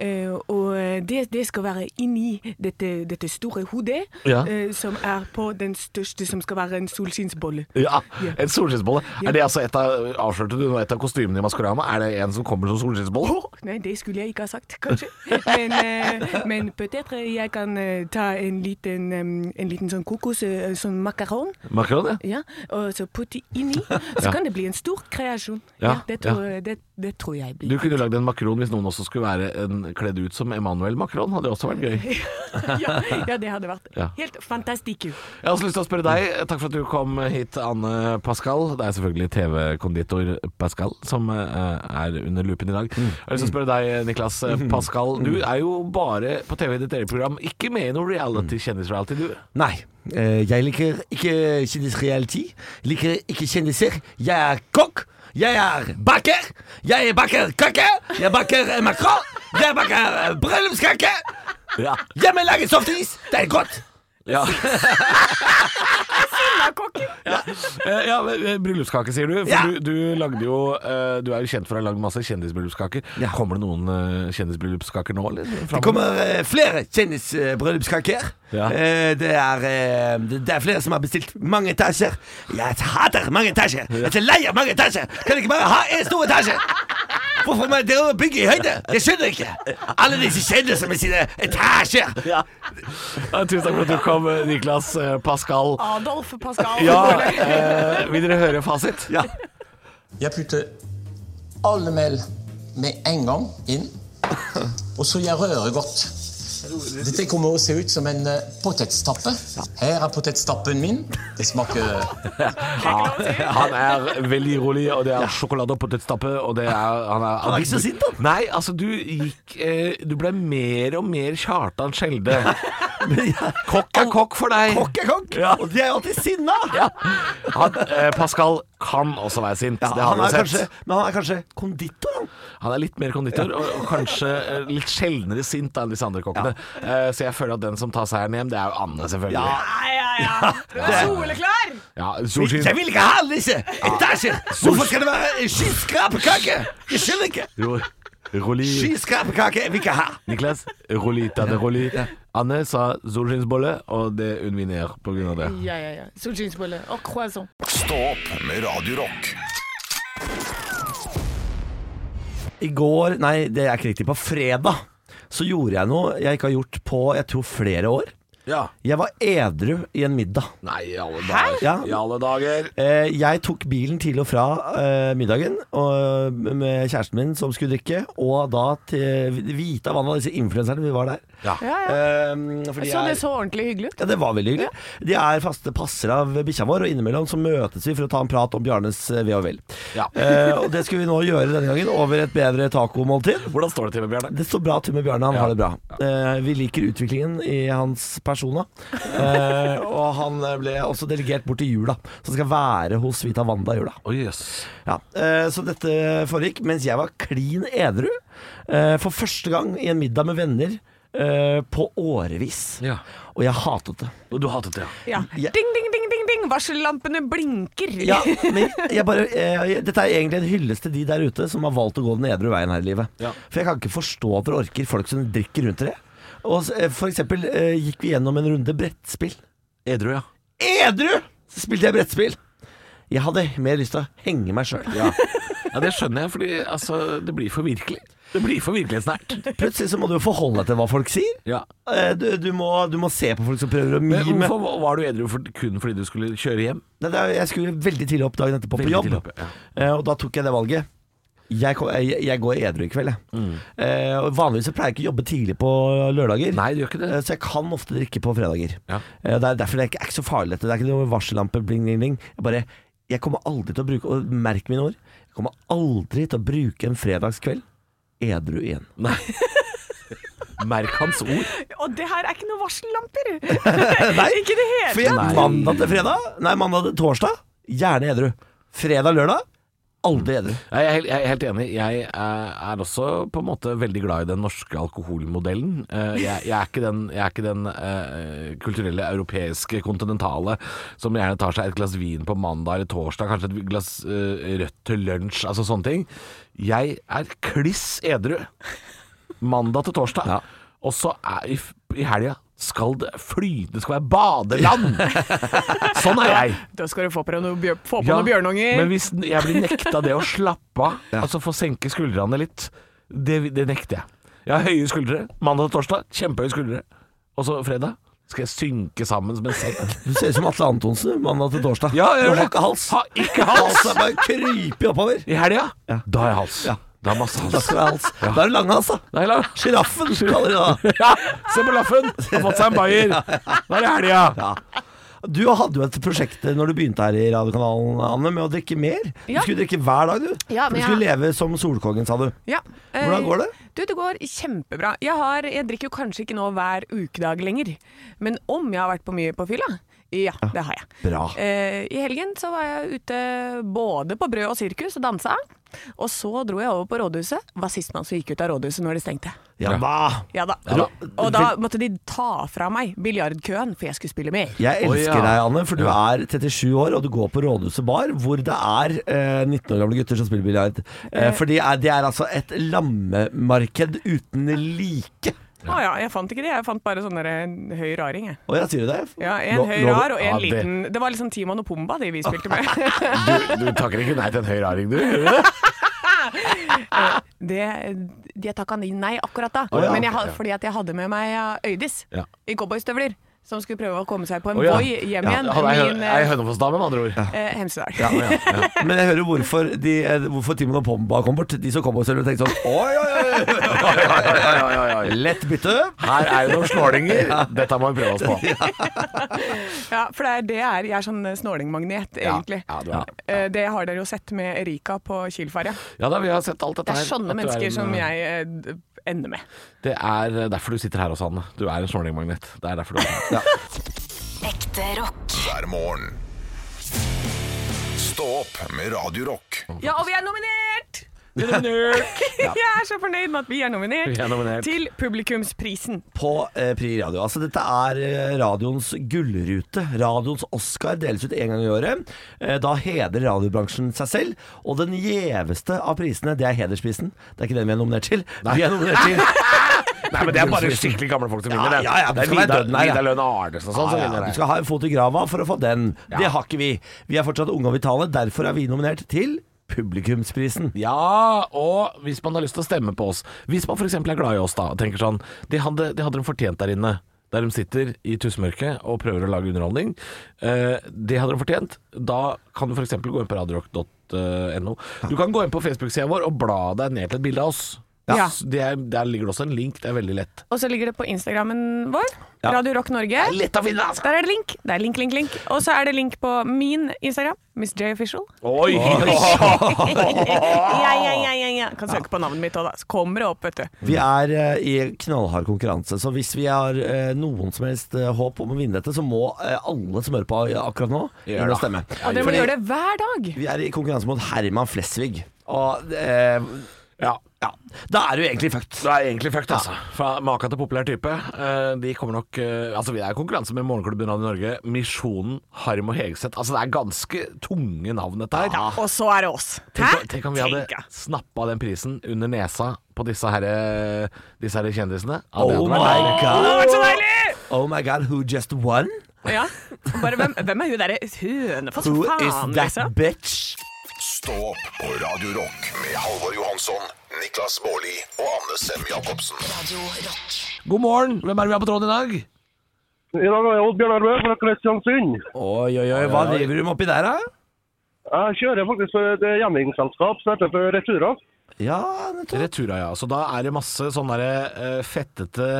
Speaker 5: Eh, og eh, det, det skal være inni dette, dette store hodet,
Speaker 3: Ja.
Speaker 5: eh, som er på den største, som skal være en solskinnsbolle.
Speaker 3: Ja, en solskinnsbolle. Er det altså et av, avslørte du nå et av kostymene i Maskorama? Er det en som kommer som solskinnsbolle?
Speaker 5: Nei, det skulle jeg ikke ha sagt, kanskje. Men, eh, men peut-être jeg kan eh, ta en liten, em, en liten sånn kokos, eh, sånn makaron.
Speaker 3: Makron, ja.
Speaker 5: Ja, og så putte inni, så kan det bli en stor kreasjon.
Speaker 3: Ja,
Speaker 5: Ja, det, tror, Det, det tror jeg
Speaker 3: Du
Speaker 5: blir.
Speaker 3: kunne lagd en makron hvis noen også skulle være en, kledd ut som Emanuel Macron. Hadde også vært gøy.
Speaker 5: ja, ja, det hadde vært
Speaker 3: Ja.
Speaker 5: helt fantastisk.
Speaker 3: Jeg har også lyst til å spørre deg, takk for at du kom hit, Anne Pascal. Det er selvfølgelig TV-konditor Pascal som eh, er under lupen i dag. Jeg har lyst til å spørre deg, Niklas eh, Pascal. Du er jo bare på TV i ditt eget program, ikke med i noe reality, kjendis-reality, du.
Speaker 4: Nei. eh, jeg liker ikke kjendisreality. Liker ikke kjendiser. Jeg er kokk. Jeg er baker. Jeg baker kake. Jeg baker eh, makron. Jeg baker eh, bryllupskake.
Speaker 3: Ja.
Speaker 4: Hjemmelaget softis. Det er godt.
Speaker 3: ja.
Speaker 5: Kokken!
Speaker 3: Eh, ja men, eh, Bryllupskake, sier du. For
Speaker 4: Ja.
Speaker 3: du, du lagde jo eh, Du er jo kjent for å ha lagd masse kjendisbryllupskaker.
Speaker 4: Ja.
Speaker 3: Kommer det noen eh, kjendisbryllupskaker nå, eller?
Speaker 4: Det kommer eh, flere kjendisbryllupskaker.
Speaker 3: Ja.
Speaker 4: Eh, det, er, eh, det det er flere som har bestilt mange etasjer. Jeg hater mange etasjer! Jeg er så lei av mange etasjer! Kan dere ikke bare ha én stor etasje? Hvorfor må dere bygge i høyde? Jeg skjønner ikke. Alle disse kjendisene med sine etasjer.
Speaker 3: Ja. Ja, Tusen takk for at du kom, eh, Niklas eh, Pascal.
Speaker 5: Adolf Pascal.
Speaker 3: Ja, eh, vil dere høre fasit?
Speaker 4: Ja.
Speaker 9: Jeg putter alle mel med en gang inn, og så jeg rører godt. Dette kommer å se ut som en eh, potetstappe. Her er potetstappen min. Det smaker
Speaker 3: Han er veldig rolig, og det er sjokolade og potetstappe, og det er Han er,
Speaker 4: er ikke så sint, han.
Speaker 3: Nei, altså, du gikk eh, Du ble mer og mer Kjartan Skjelde. Kokk er kokk for deg.
Speaker 4: Kokk er kokk,
Speaker 3: Ja.
Speaker 4: og de er alltid sinna.
Speaker 3: Ja. Han, eh, Pascal kan også være sint.
Speaker 4: Ja,
Speaker 3: det har
Speaker 4: han
Speaker 3: vi
Speaker 4: er
Speaker 3: sett.
Speaker 4: kanskje, men han er kanskje konditor, han.
Speaker 3: Han er litt mer konditor, og, og kanskje eh, litt sjeldnere sint enn disse andre kokkene. Eh, så jeg føler at den som tar seieren hjem, det er jo Anne, selvfølgelig.
Speaker 4: Ja.
Speaker 5: Nei, ja, ja. Du er soleklar!
Speaker 3: Ja, solskinn.
Speaker 4: Jeg vil ikke ha alle disse etasjer! Hvorfor skal det være skyskrapekake? Jeg skjønner ikke.
Speaker 3: Ro- Rolig.
Speaker 4: Skyskrapekake vil jeg ikke ha.
Speaker 3: Niklas, rolig, ta det rolig. Anne sa solskinnsbolle, og det unnvinner på grunn av det.
Speaker 5: Ja, ja, ja. Solskinnsbolle og croissant.
Speaker 2: Stå opp med Radio Rock.
Speaker 4: I går, nei det er ikke riktig, på fredag så gjorde jeg noe jeg ikke har gjort på jeg tror flere år.
Speaker 3: Ja.
Speaker 4: Jeg var edru i en middag.
Speaker 3: Nei, i alle dager.
Speaker 4: Ja.
Speaker 3: I alle dager.
Speaker 4: Eh, jeg tok bilen til og fra eh, middagen og, eh, med kjæresten min som skulle drikke, og da til Vita Vann og disse influenserne vi var der.
Speaker 3: Ja.
Speaker 5: Ja, ja.
Speaker 4: Eh, for de
Speaker 5: Så
Speaker 4: er-
Speaker 5: det så ordentlig hyggelig ut.
Speaker 4: Ja, det var veldig hyggelig. De er faste passer av bikkja vår, og innimellom så møtes vi for å ta en prat om Bjarnes eh, ve og vel.
Speaker 3: Ja.
Speaker 4: Eh, og det skulle vi nå gjøre denne gangen, over et bedre tacomåltid.
Speaker 3: Hvordan står det til med Bjørne?
Speaker 4: Det står bra til med Bjarne, han har det bra. Eh, vi liker utviklingen i hans persona. Eh, og han eh, ble også delegert bort til jula, som skal være hos Vita Wanda i jula.
Speaker 3: Å, jøss.
Speaker 4: Ja, eh, Så dette foregikk mens jeg var klin edru. eh, For første gang i en middag med venner eh, på årevis.
Speaker 3: Ja.
Speaker 4: Og jeg hatet det.
Speaker 3: Du hatet det, ja.
Speaker 5: Ja.
Speaker 4: Ja.
Speaker 5: Ding, ding, ding, ding, ding. Varsellampene blinker.
Speaker 4: Ja, men jeg bare, eh, dette er egentlig en hyllest til de der ute som har valgt å gå den edru veien her i livet.
Speaker 3: Ja.
Speaker 4: For jeg kan ikke forstå at dere orker folk som drikker rundt dere. Og s- eh, for eksempel eh, gikk vi gjennom en runde brettspill.
Speaker 3: Edru, ja.
Speaker 4: Edru! Så spilte jeg brettspill. Jeg hadde mer lyst til å henge meg sjøl.
Speaker 3: Ja, Det skjønner jeg, fordi altså, det blir for virkelig. Det blir for virkelighetsnært.
Speaker 4: Plutselig så må du jo forholde deg til hva folk sier.
Speaker 3: Ja.
Speaker 4: Eh, Du, du, må, du må se på folk som prøver å
Speaker 3: Men
Speaker 4: mime.
Speaker 3: hvorfor var du edru for, kun fordi du skulle kjøre hjem?
Speaker 4: Nei, det er- Jeg skulle veldig tidlig opp dagen etterpå på
Speaker 3: Veldig
Speaker 4: jobb,
Speaker 3: tidlig opp, ja.
Speaker 4: Eh, og da tok jeg det valget. Jeg, kom, jeg, jeg går edru i kveld, jeg.
Speaker 3: Mm.
Speaker 4: Eh, og vanligvis så pleier jeg ikke å jobbe tidlig på lørdager.
Speaker 3: Nei, du gjør ikke det.
Speaker 4: Eh, Så jeg kan ofte drikke på fredager.
Speaker 3: Ja.
Speaker 4: Eh, Det er derfor det er ikke, er ikke så farlig dette. Det er ikke noe varsellampe, bling, bling, bling. Jeg bare Jeg kommer aldri til å bruke Og merk mine ord. Jeg kommer aldri til å bruke en fredagskveld edru igjen.
Speaker 3: Merk hans ord.
Speaker 5: Og det her er ikke noen varsellamper.
Speaker 4: Nei,
Speaker 5: Ikke det hele.
Speaker 4: for jeg,
Speaker 3: Nei.
Speaker 4: mandag til fredag Nei, mandag til torsdag, gjerne edru. Fredag, lørdag, aldri edru.
Speaker 3: Jeg er, helt, jeg er helt enig. Jeg er, er også på en måte veldig glad i den norske alkoholmodellen. Eh, Jeg, jeg er ikke den, jeg er ikke den eh, kulturelle europeiske kontinentale som gjerne tar seg et glass vin på mandag eller torsdag, kanskje et glass eh, rødt til lunsj, altså sånne ting. Jeg er kliss edru mandag til torsdag, og så er i, f- i helga skal det fly, det skal være badeland! sånn er jeg.
Speaker 5: Da skal du få på deg noen, bjør, få på
Speaker 3: Ja,
Speaker 5: noen bjørnunger.
Speaker 3: Men hvis n- jeg blir nekta det å slappe av, altså få senke skuldrene litt, det, det nekter jeg. Jeg har høye skuldre. Mandag til torsdag, kjempehøye skuldre. Og så fredag skal jeg synke sammen som en sekk.
Speaker 4: Du ser ut som Atle Antonsen mandag til torsdag.
Speaker 3: Ja, jeg gjør
Speaker 4: du har
Speaker 3: det.
Speaker 4: ikke hals.
Speaker 3: Ha ikke hals!
Speaker 4: Halsen er bare kryper oppover.
Speaker 3: I helga, da har jeg hals. Da er masse
Speaker 4: Da
Speaker 3: hals.
Speaker 4: skal du ha hals. Da er det langhals, da.
Speaker 3: Da er jeg la-
Speaker 4: Sjiraffen kaller de det.
Speaker 3: Ja, se på laffen! Har fått seg en bayer. Da er det helga.
Speaker 4: Du hadde jo et prosjekt når du begynte her i radiokanalen, Anne, med å drikke mer. Du
Speaker 5: Ja.
Speaker 4: skulle drikke hver dag, du.
Speaker 5: Ja,
Speaker 4: For
Speaker 5: men
Speaker 4: du skulle
Speaker 5: jeg-
Speaker 4: leve som solkongen, sa du.
Speaker 5: Ja.
Speaker 4: Hvordan
Speaker 5: Eh,
Speaker 4: går det?
Speaker 5: Du, det går kjempebra. Jeg, har, jeg drikker jo kanskje ikke nå hver ukedag lenger, men om jeg har vært på mye på fylla? Ja, det har jeg.
Speaker 4: Bra.
Speaker 5: Eh, I helgen så var jeg ute både på Brød og sirkus og dansa. Og så dro jeg over på rådhuset. Var sistemann som gikk ut av rådhuset når de stengte.
Speaker 4: Ja da.
Speaker 5: Ja da.
Speaker 4: Ja da.
Speaker 5: Og da måtte de ta fra meg biljardkøen, for jeg skulle spille mer.
Speaker 4: Jeg
Speaker 3: Å,
Speaker 4: elsker
Speaker 3: ja.
Speaker 4: deg, Anne, for du er 37 år og du går på Rådhuset bar, hvor det er eh, 19 år gamle gutter som spiller biljard. Eh, for det er, det er altså et lammemarked uten like.
Speaker 5: Å ja, jeg fant ikke det. Jeg fant bare sånn der, en høy raring, jeg.
Speaker 4: Og jeg sier det.
Speaker 5: Ja,
Speaker 4: Lo-
Speaker 5: en høy
Speaker 4: lo-
Speaker 5: rar og en
Speaker 3: ja, det-
Speaker 5: liten. Det var liksom Timon og Pumba, de vi spilte med.
Speaker 3: Du, du takker ikke nei til en høy raring, du?
Speaker 5: det, jeg takka nei akkurat da.
Speaker 3: Å, ja.
Speaker 5: Men jeg, ha- fordi at jeg hadde med meg eh, Øydis
Speaker 3: Ja.
Speaker 5: i cowboystøvler. Som skulle prøve å komme seg på en
Speaker 3: Å, ja.
Speaker 5: Voi hjem
Speaker 3: Ja,
Speaker 5: igjen.
Speaker 3: Han er
Speaker 5: min
Speaker 3: hø- er
Speaker 5: eh,
Speaker 3: Hønefoss-dame, med andre ord.
Speaker 5: eh, Hemsedal.
Speaker 4: Men jeg hører hvorfor, de, eh, hvorfor Timon og Pomba kom bort. De som kom og selv tenkte sånn Oi, oi, oi, oi, oi, oi, oi, oi, oi. Lett bytte.
Speaker 3: Her er det noen snålinger. Dette må vi prøve oss på.
Speaker 5: Ja, for det er det jeg er. Jeg er sånn eh, snålingmagnet, egentlig.
Speaker 3: Ja, ja, du er det.
Speaker 5: Eh, Det har dere jo sett med Erika på Kielferja.
Speaker 3: Ja da, vi har sett alt dette
Speaker 5: Det
Speaker 3: her.
Speaker 5: er
Speaker 3: At
Speaker 5: sånne
Speaker 3: du er
Speaker 5: mennesker
Speaker 3: en-
Speaker 5: som jeg eh, d- ender med.
Speaker 3: Det er eh, derfor du sitter her også, Anne. Du er en snålingmagnet. Det er derfor du er her.
Speaker 1: Ekte rock.
Speaker 2: hver morgen. Stå opp med Radio Rock.
Speaker 5: Ja, og vi er nominert! Jeg er så fornøyd med at vi er nominert,
Speaker 3: Vi er nominert.
Speaker 5: til Publikumsprisen.
Speaker 4: På eh, Pri Radio. Altså, dette er eh, radioens gullrute. Radioens Oscar deles ut en gang i året. Eh, da hedrer radiobransjen seg selv. Og den gjeveste av prisene, det er hedersprisen. Det er ikke den vi er nominert til. Vi er nominert til
Speaker 3: Nei, men det er bare skikkelig gamle folk som
Speaker 4: Ja,
Speaker 3: vinner det.
Speaker 4: ja, ja,
Speaker 3: det er
Speaker 4: skal være
Speaker 3: Vidar,
Speaker 4: døden her, ja.
Speaker 3: Vidar Lønn Arnesen og sånn som
Speaker 4: Ja, ja,
Speaker 3: vinner
Speaker 4: du
Speaker 3: det.
Speaker 4: skal ha en fot i grava for å få den. Det har ikke vi. Vi er fortsatt unge og vitale. Derfor er vi nominert til Publikumsprisen.
Speaker 3: Ja, og hvis man har lyst til å stemme på oss Hvis man f.eks. er glad i oss da og tenker sånn Det hadde, det hadde de fortjent der inne. Der de sitter i tussmørket og prøver å lage underholdning. Eh, det hadde de fortjent. Da kan du f.eks. gå inn på radiorock.no. Du kan gå inn på Facebook-sida vår og bla deg ned til et bilde av oss.
Speaker 5: Ja.
Speaker 3: Det er, der ligger det også en link. Det er veldig lett.
Speaker 5: Og så ligger det på Instagrammen vår, Radio Rock Norge.
Speaker 3: Lett å finne, altså!
Speaker 5: Der er det link. Det er link, link, link. Og så er det link på min Instagram, Miss J Official.
Speaker 3: altså. Oi!
Speaker 5: Ja, ja, ja, ja, ja. Kan søke på navnet mitt òg, da. Så kommer det opp, vet du.
Speaker 4: Vi er eh, i knallhard konkurranse, så hvis vi har eh, noen som helst eh, håp om å vinne dette, så må eh, alle som hører på akkurat nå,
Speaker 3: Gjør
Speaker 4: inn og
Speaker 3: det.
Speaker 4: stemme.
Speaker 5: Og dere må
Speaker 4: Fordi
Speaker 5: gjøre det hver dag.
Speaker 4: Vi er i konkurranse mot Herman Flesvig. Og eh,
Speaker 3: Ja.
Speaker 4: ja, da er du egentlig fucked.
Speaker 3: Du er egentlig fucked, altså. Fra maka til populær type. Eh, De kommer nok eh, Altså, vi er i konkurranse med Morgenklubben Radio Norge, Misjonen, Harm og Hegseth. Altså, det er ganske tunge navn, dette her.
Speaker 5: Og så er det oss.
Speaker 3: Tenk, tenk om vi
Speaker 5: Tenk, ja.
Speaker 3: hadde snappa den prisen under nesa på disse herre disse herre kjendisene. Ja, det
Speaker 4: Oh
Speaker 3: hadde vært
Speaker 4: my
Speaker 3: deilig.
Speaker 5: Å, Det har vært så
Speaker 4: god.
Speaker 5: deilig!
Speaker 4: Oh my god, who just won?
Speaker 5: Ja. Bare, hvem, hvem er hun derre Hønefoss?
Speaker 3: Altså,
Speaker 4: Who is
Speaker 5: Faen,
Speaker 4: that
Speaker 5: liksom.
Speaker 4: bitch?
Speaker 2: Stå opp på Radio Rock med Halvor Johansson, Niklas Baarli og Anne Sem Jacobsen.
Speaker 1: Radio Rock.
Speaker 3: God morgen! Hvem er det vi har på tråden i dag?
Speaker 10: I dag har jeg Oddbjørn Erbø fra Kristiansund.
Speaker 4: Oi, oi, oi, hva driver du med oppi der, da?
Speaker 10: Jeg kjører faktisk for et hjemmegingsselskap som heter for Retura.
Speaker 4: Ja, nettopp.
Speaker 3: Retura, ja. Så da er det masse sånne derre eh, fettete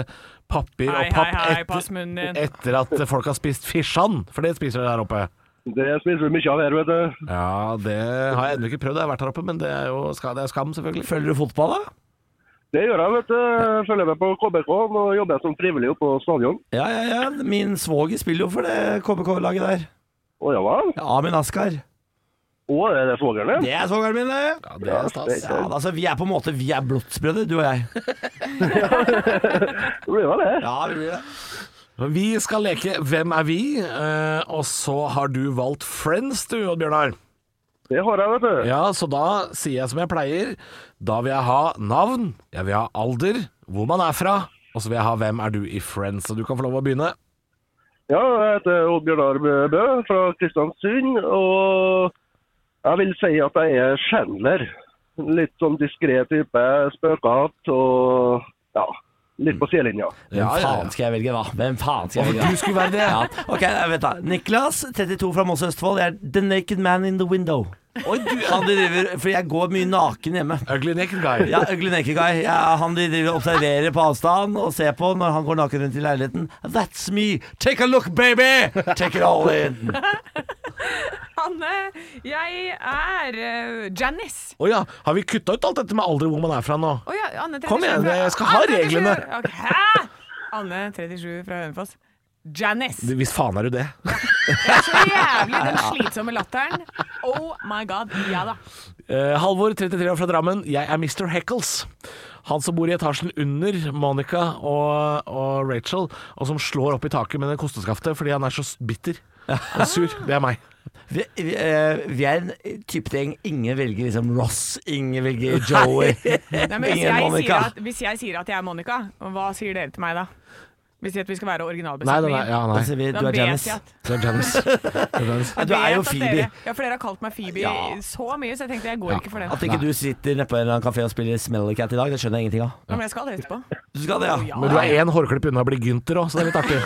Speaker 3: papir
Speaker 5: Hei,
Speaker 3: og papp
Speaker 5: hei, hei, pass munnen din.
Speaker 3: etter, etter at folk har spist fisjan, for det spiser dere der oppe.
Speaker 10: Det spiser vi mye av her, vet du.
Speaker 3: Ja, det har jeg ennå ikke prøvd. Jeg har vært her oppe, men det er jo skam, det er skam selvfølgelig.
Speaker 4: Følger du fotball, da?
Speaker 10: Det gjør jeg, vet du. Jeg Følger med på KBK og jobber som frivillig oppe på stadion.
Speaker 4: Ja, ja, ja. Min svoger spiller jo for det KBK-laget der.
Speaker 10: Å ja vel?
Speaker 4: Ja, Amin Askar.
Speaker 10: Å, er det svogeren din?
Speaker 4: Det er svogeren min, det.
Speaker 3: Ja, det er stas.
Speaker 4: Ja, altså, vi er på en måte Vi er blodsbrødre, du og jeg.
Speaker 10: Det blir vel det.
Speaker 4: Ja, vi blir det.
Speaker 3: Vi skal leke Hvem er vi? Eh, og så har du valgt Friends, du, Odd Bjørnar.
Speaker 10: Det har jeg, vet du.
Speaker 3: Ja, så da sier jeg som jeg pleier. Da vil jeg ha navn, jeg vil ha alder, hvor man er fra, og så vil jeg ha hvem er du i Friends. Så du kan få lov å begynne.
Speaker 10: Ja, jeg heter Odd Bjørnar Bø fra Kristiansund, og jeg vil si at jeg er Chandler. Litt sånn diskré type, spøkete og ja, litt på sidelinja.
Speaker 4: Hvem
Speaker 3: Ja, ja, ja.
Speaker 4: faen skal jeg velge, da? Hvem faen skal jeg velge?
Speaker 3: Du skulle være det.
Speaker 4: Ja. Ok, jeg vet da. Niklas, 32 fra Moss Østfold. Jeg er The Naked Man in the Window. Han driver, for jeg går mye naken hjemme.
Speaker 3: Ugly naked guy.
Speaker 4: Ja, Ugly Naked Guy. Ja, han de driver og observerer på avstand og ser på når han går naken rundt i leiligheten. That's me! Take a look, baby! Take it all in!
Speaker 5: Hanne, jeg er eh, Janice.
Speaker 3: Å ja, har vi kutta ut alt dette med alder hvor man er fra nå?
Speaker 5: Å ja, Anne 37
Speaker 3: Kom igjen,
Speaker 5: fra-
Speaker 3: jeg skal ha
Speaker 5: Anne 37
Speaker 3: reglene.
Speaker 5: år. Ok, Hæ? Anne 37 fra Hønefoss. Janice.
Speaker 3: Hvis faen er du det.
Speaker 5: Så jævlig den slitsomme latteren. Oh my god. Ja da.
Speaker 3: Eh, Halvor, 33 år fra Drammen. Jeg er Mr. Heckles. Han som bor i etasjen under Monica og, og Rachel, og som slår opp i taket med det kosteskaftet fordi han er så bitter og sur. Det er meg.
Speaker 4: Vi, vi, eh, vi er en type gjeng. Ingen velger liksom Ross, ingen velger Joey.
Speaker 5: Nei, men hvis,
Speaker 4: Ingen
Speaker 5: jeg sier
Speaker 4: Monica.
Speaker 5: at, hvis jeg sier at jeg er Monica, hva sier dere til meg da? Hvis jeg at vi skal være
Speaker 3: Nei, nei, nei,
Speaker 5: originalbesetningen?
Speaker 3: ja,
Speaker 4: Da
Speaker 3: nei.
Speaker 4: sier vi,
Speaker 5: Da
Speaker 4: Du er
Speaker 5: vet jeg
Speaker 4: Janice.
Speaker 5: at
Speaker 3: Det er Janice. Det er Janice.
Speaker 4: Du er
Speaker 5: vet
Speaker 4: jo
Speaker 5: at
Speaker 4: Phoebe.
Speaker 5: Dere, ja, for dere har kalt meg Phoebe så mye, så jeg tenkte jeg går ikke for den.
Speaker 4: At ikke du sitter nede på en eller annen kafé og spiller Smelly Cat i dag, det skjønner jeg ingenting av.
Speaker 5: Ja, men jeg skal det etterpå.
Speaker 4: Du skal det, ja.
Speaker 3: Men du er én hårklipp unna å bli Gynter òg, så det er litt artig.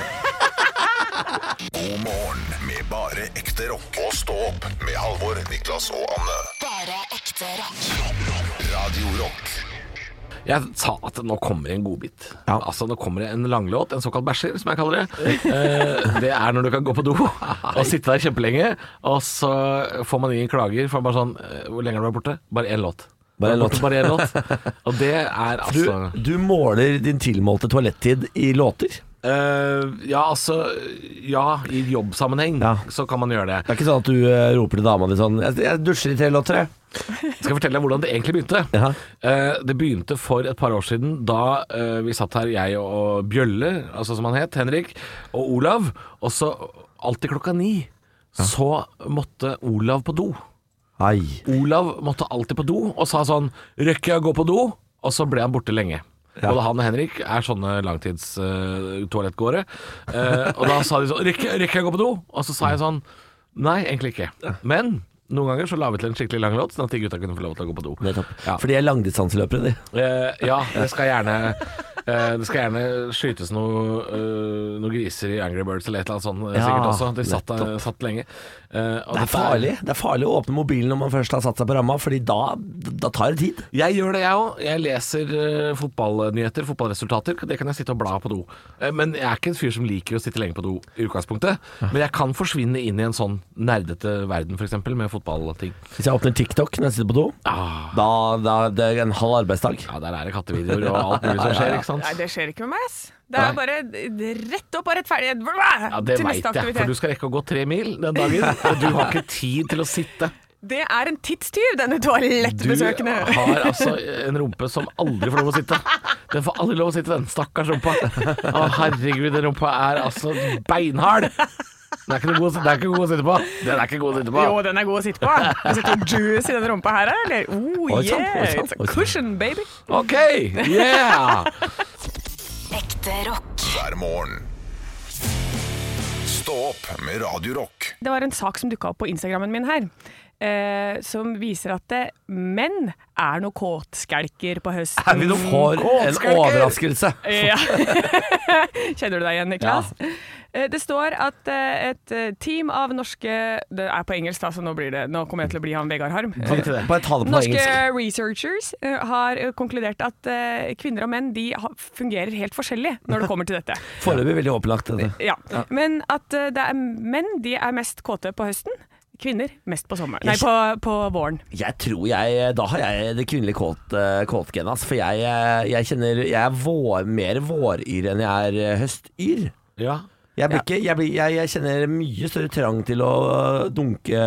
Speaker 2: God morgen med bare ekte rock. Og stå opp med Halvor, Niklas og Anne.
Speaker 1: Bare ekte rock.
Speaker 2: Radio Rock.
Speaker 3: Jeg sa at nå kommer en godbit. Altså, nå kommer det en langlåt, en såkalt bæsjer, som jeg kaller det. Eh, det er når du kan gå på do og sitte der kjempelenge, og så får man ingen klager. For bare sånn eh, Hvor lenge har du vært borte? Bare én låt.
Speaker 4: Bare en låt.
Speaker 3: Bare én låt. Og det er
Speaker 4: Du,
Speaker 3: altså
Speaker 4: du måler din tilmålte toalettid i låter.
Speaker 3: eh, Ja, altså Ja, i jobbsammenheng
Speaker 4: Ja.
Speaker 3: så kan man gjøre
Speaker 4: Det
Speaker 3: det.
Speaker 4: er ikke sånn at du eh, roper til dama di sånn Jeg, jeg dusjer i tre låter, jeg.
Speaker 3: Skal jeg fortelle deg hvordan det egentlig begynte?
Speaker 4: Ja.
Speaker 3: Eh, det begynte for et par år siden da eh, vi satt her, jeg og Bjølle, altså som han het, Henrik, og Olav. Og så alltid klokka ni så måtte Olav på do.
Speaker 4: Ai.
Speaker 3: Olav måtte alltid på do og sa sånn 'Rekker jeg å gå på do?' Og så ble han borte lenge. Både han og Henrik er sånne langtidstoalettgåere. og da sa de sånn 'Rekker rekker jeg å gå på do?' Og så sa jeg sånn Nei, egentlig ikke. Men noen ganger så la vi til en skikkelig lang låt, sånn at de gutta kunne få lov til å gå på do.
Speaker 4: Nettopp.
Speaker 3: Ja.
Speaker 4: For de er langdistanseløpere, de.
Speaker 3: Eh, ja, det skal gjerne eh, Det skal gjerne skytes noe, eh, noen griser i Angry Birds eller et eller annet sånt eh,
Speaker 4: Ja,
Speaker 3: sikkert også. De satt, der-
Speaker 4: nettopp.
Speaker 3: satt lenge. Eh, og
Speaker 4: Det er
Speaker 3: dette
Speaker 4: farlig Det er farlig å åpne mobilen når man først har satt seg på ramma, Fordi da, da tar det tid.
Speaker 3: Jeg gjør det, jeg òg. Jeg leser eh, fotballnyheter, fotballresultater. Det kan jeg sitte og bla på do. Eh, men jeg er ikke en fyr som liker å sitte lenge på do i utgangspunktet. Men jeg kan forsvinne inn i en sånn nerdete verden, f.eks., med fotballting.
Speaker 4: Hvis jeg åpner TikTok når jeg sitter på do, da, da det er en halv arbeidsdag.
Speaker 3: Ja, der er det kattevideoer og alt mulig som skjer, ikke sant?
Speaker 5: Nei, det skjer ikke med meg, ass. Det er bare d- rett opp og rettferdighet
Speaker 3: Ja, Det
Speaker 5: til
Speaker 3: veit
Speaker 5: neste
Speaker 3: jeg, for du
Speaker 5: aktivitet.
Speaker 3: skal rekke å gå tre mil den dagen. Og du har ikke tid til å sitte.
Speaker 5: Det er en tidstyv, denne
Speaker 3: Du
Speaker 5: toalettbesøkende.
Speaker 3: har altså en rumpe som aldri får lov å sitte. Den får aldri lov å sitte, den stakkars rumpa. Å, herregud, den rumpa er altså beinhard. Den er ikke noe god, den er ikke god å sitte på. Den er ikke god å sitte på.
Speaker 5: Jo, den er god å sitte på. Jeg setter noe juice i den rumpa her, eller? Oh,
Speaker 4: Oi, sant, oi,
Speaker 5: yeah.
Speaker 4: sant,
Speaker 5: It's
Speaker 4: oi,
Speaker 5: a
Speaker 4: sant.
Speaker 5: cushion, baby.
Speaker 3: OK, yeah!
Speaker 1: Ekte rock.
Speaker 2: hver morgen. Stå opp med Radio Rock.
Speaker 5: Det var en sak som dukka opp på Instagrammen min her, eh, som viser at eh, menn er noe kåtskjelker på høsten.
Speaker 4: Er vi nå for en overraskelse?
Speaker 5: Ja. Kjenner du deg igjen, Niklas? Eh, Det står at eh, et eh, team av norske Det er på engelsk, da, så nå, blir det, nå kommer jeg til å bli han Vegard Harm. Eh,
Speaker 4: Bare ta det på
Speaker 5: Norske
Speaker 4: engelsk.
Speaker 5: researchers eh, har eh, konkludert at eh, kvinner og menn de ha- fungerer helt forskjellig når det kommer til dette.
Speaker 4: Foreløpig veldig åpenlagt. dette.
Speaker 5: Ja. Men at eh, det er menn de er mest kåte på høsten. Kvinner mest på sommeren. Nei,
Speaker 4: Jeg-
Speaker 5: på, på våren.
Speaker 4: Jeg tror jeg eh, Da har jeg det kvinnelige kåt- eh, kåtgenet. ass, for jeg, eh, jeg kjenner Jeg er vår, mer våryr enn jeg er eh, høstyr.
Speaker 3: Ja.
Speaker 4: Jeg, blir ikke, jeg, blir, jeg, jeg kjenner mye større trang til å eh, dunke,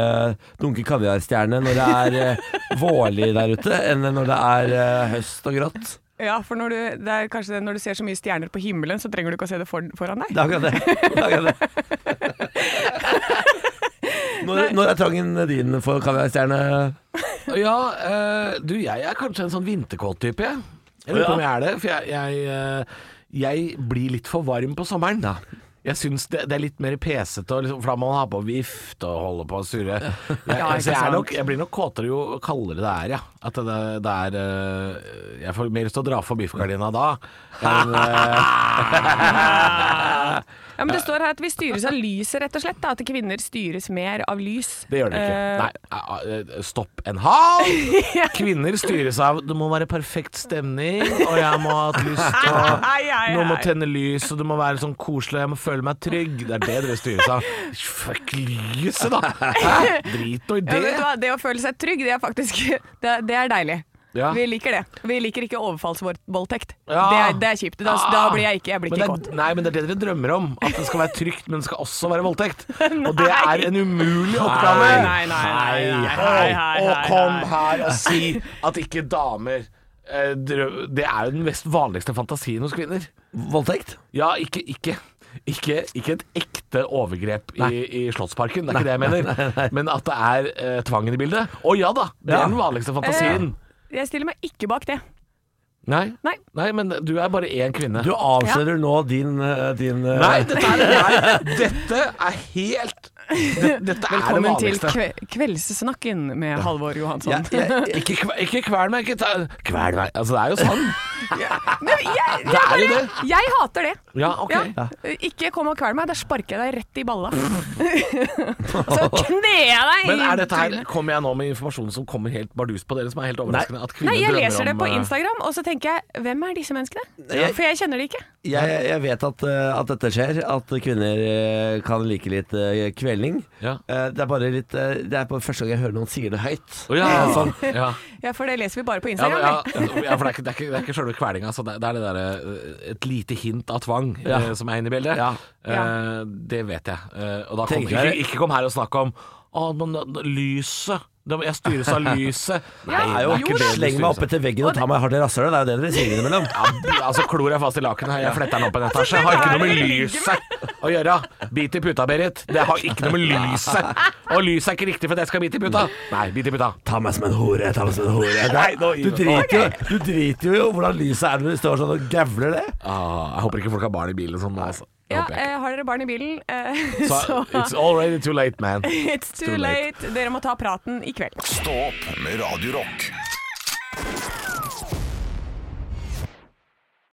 Speaker 4: dunke kaviarstjerne når det er eh, vårlig der ute, enn når det er eh, høst og grått.
Speaker 5: Ja, for når du, det er kanskje det, når du ser så mye stjerner på himmelen, så trenger du ikke å se det for, foran deg.
Speaker 4: Det er akkurat det. det, er akkurat det. Når, når er trangen din for kaviarstjerne?
Speaker 3: Ja, eh, du, jeg er kanskje en sånn vinterkåt-type, jeg. Jeg lurer på om jeg er det, for jeg, jeg, eh, jeg blir litt for varm på sommeren. Jeg syns det, det er litt mer pesete, og liksom, for da må man ha på vift og holde på å surre. Jeg,
Speaker 5: ikke
Speaker 3: så jeg, er
Speaker 5: sant.
Speaker 3: nok, jeg blir nok kåtere jo kaldere det er, ja. At det, det er eh, Jeg får mer lyst til å dra for biffgardina da. enn, eh,
Speaker 5: Ja, men Det står her at vi styres av lyset, rett og slett. Da, at kvinner styres mer av lys.
Speaker 3: det gjør det
Speaker 5: Eh,
Speaker 3: ikke. Nei, eh, eh, stopp en hal! Kvinner styres av det må være perfekt stemning, og jeg må ha hatt lyst til å
Speaker 5: Ai, ai,
Speaker 3: Noen må
Speaker 5: ai.
Speaker 3: tenne lys, og det må være sånn koselig, og jeg må føle meg trygg. Det er det dere styres av. Fuck lyset, da! Hæ? Drit nå i
Speaker 5: Ja, vet du
Speaker 3: det.
Speaker 5: hva? Det å føle seg trygg, det er faktisk Det er, det er deilig.
Speaker 3: Ja.
Speaker 5: Vi liker det. Vi liker ikke overfallsvoldtekt.
Speaker 3: Ja.
Speaker 5: Det, er, det er kjipt. Da, da blir jeg ikke, jeg blir
Speaker 3: Men
Speaker 5: ikke
Speaker 3: det
Speaker 5: kåt.
Speaker 3: er, nei, men det er det dere drømmer om. At det skal være trygt, men det skal også være voldtekt. Og det
Speaker 5: Nei.
Speaker 3: er en umulig oppgave.
Speaker 5: Nei, nei, nei, nei, nei, nei, nei,
Speaker 3: Og
Speaker 5: nei,
Speaker 3: kom
Speaker 5: nei.
Speaker 3: her og si at ikke damer eh, drø- Det er jo den mest vanligste fantasien hos kvinner.
Speaker 4: Voldtekt?
Speaker 3: Ja, ikke, ikke. Ikke, ikke et ekte overgrep i, i Slottsparken, det er ikke det jeg mener. Men at det er eh, tvangen i bildet. Å ja da, det
Speaker 4: Ja.
Speaker 3: er den vanligste fantasien.
Speaker 5: Jeg stiller meg ikke bak det.
Speaker 3: Nei.
Speaker 5: Nei.
Speaker 3: Nei, men du er bare én kvinne.
Speaker 4: Du avslører nå din, eh, din eh,
Speaker 3: Nei, dette er, nei, dette er helt det, Dette er det
Speaker 5: Velkommen til
Speaker 3: vanligste.
Speaker 5: kve, Kveldssnakken med Halvor Johansson.
Speaker 4: jeg, jeg,
Speaker 3: Ikke, kve- ikke kvel meg, ikke ta Kvel meg. Altså, det er jo sånn.
Speaker 5: Men jeg,
Speaker 3: Det er jo det.
Speaker 5: jeg hater det.
Speaker 3: Ja, ok.
Speaker 5: Ja. Ikke kom og kvel meg, da sparker jeg deg rett i balla. Så kner jeg deg
Speaker 3: Men er dette her
Speaker 5: trynet.
Speaker 3: Kommer jeg nå med informasjon som kommer helt bardus på dere, som er helt overraskende? At kvinner
Speaker 5: Nei, jeg
Speaker 3: drømmer
Speaker 5: leser det
Speaker 3: om,
Speaker 5: på
Speaker 3: eh,
Speaker 5: Instagram, og så tenker jeg hvem er disse menneskene?
Speaker 4: Jeg-
Speaker 5: For jeg kjenner de ikke.
Speaker 4: jeg, jeg vet at, eh, at dette skjer, at kvinner eh, kan like litt eh, kvelning.
Speaker 3: Ja.
Speaker 4: Eh, Det er bare litt eh, Det er på første gang jeg hører noen sier det høyt.
Speaker 3: Å ja, sånn. ja.
Speaker 5: Ja, for det leser vi bare på
Speaker 3: Ja,
Speaker 5: Instagram.
Speaker 3: men-
Speaker 5: vi.
Speaker 3: ja, ja, for det er ikke, det er ikke, det er ikke selve kvelinga. Så det, det er det derre Et lite hint av tvang eh, som er inne i bildet.
Speaker 4: Ja.
Speaker 3: Eh,
Speaker 5: Ja.
Speaker 3: det vet jeg. Eh, og da kom,
Speaker 4: Tenker
Speaker 3: ikke,
Speaker 4: jeg-
Speaker 3: ikke kom her og snakk om Å, men eh, lyset det- Jeg styres av lyset. Nei,
Speaker 5: Ja,
Speaker 4: Det er jo ikke
Speaker 3: det du
Speaker 4: Sleng meg opp
Speaker 3: styres av.
Speaker 4: etter veggen og ta meg hardt i rasshølet. Det er jo det dere sier innimellom.
Speaker 3: Ja, b- altså Klor jeg fast i lakenet her. Jeg fletter den opp en etasje.
Speaker 5: Altså, det
Speaker 3: Har ikke
Speaker 5: er
Speaker 3: noe med
Speaker 5: det jeg ligger
Speaker 3: lyset å gjøre. Bit i puta, Berit. Det har ikke noe med lyset Og lyset er ikke riktig for at jeg skal bite i puta. Nei, bit i puta.
Speaker 4: Ta meg som en hore, ta meg som en hore.
Speaker 3: Nei, nå gir vi
Speaker 4: Du
Speaker 3: oss.
Speaker 4: driter, jo, du driter jo i hvordan lyset er når du står sånn og gavler det.
Speaker 3: Ah, jeg håper ikke folk har barn i bilen sånn. Altså. Det
Speaker 5: Ja,
Speaker 3: håper jeg ikke.
Speaker 5: eh, har dere barn i bilen, eh, så,
Speaker 3: Så it's already too late, man.
Speaker 5: it's too
Speaker 3: too
Speaker 5: late.
Speaker 3: late.
Speaker 5: Dere må ta praten i kveld.
Speaker 2: Stå opp med Radio Rock.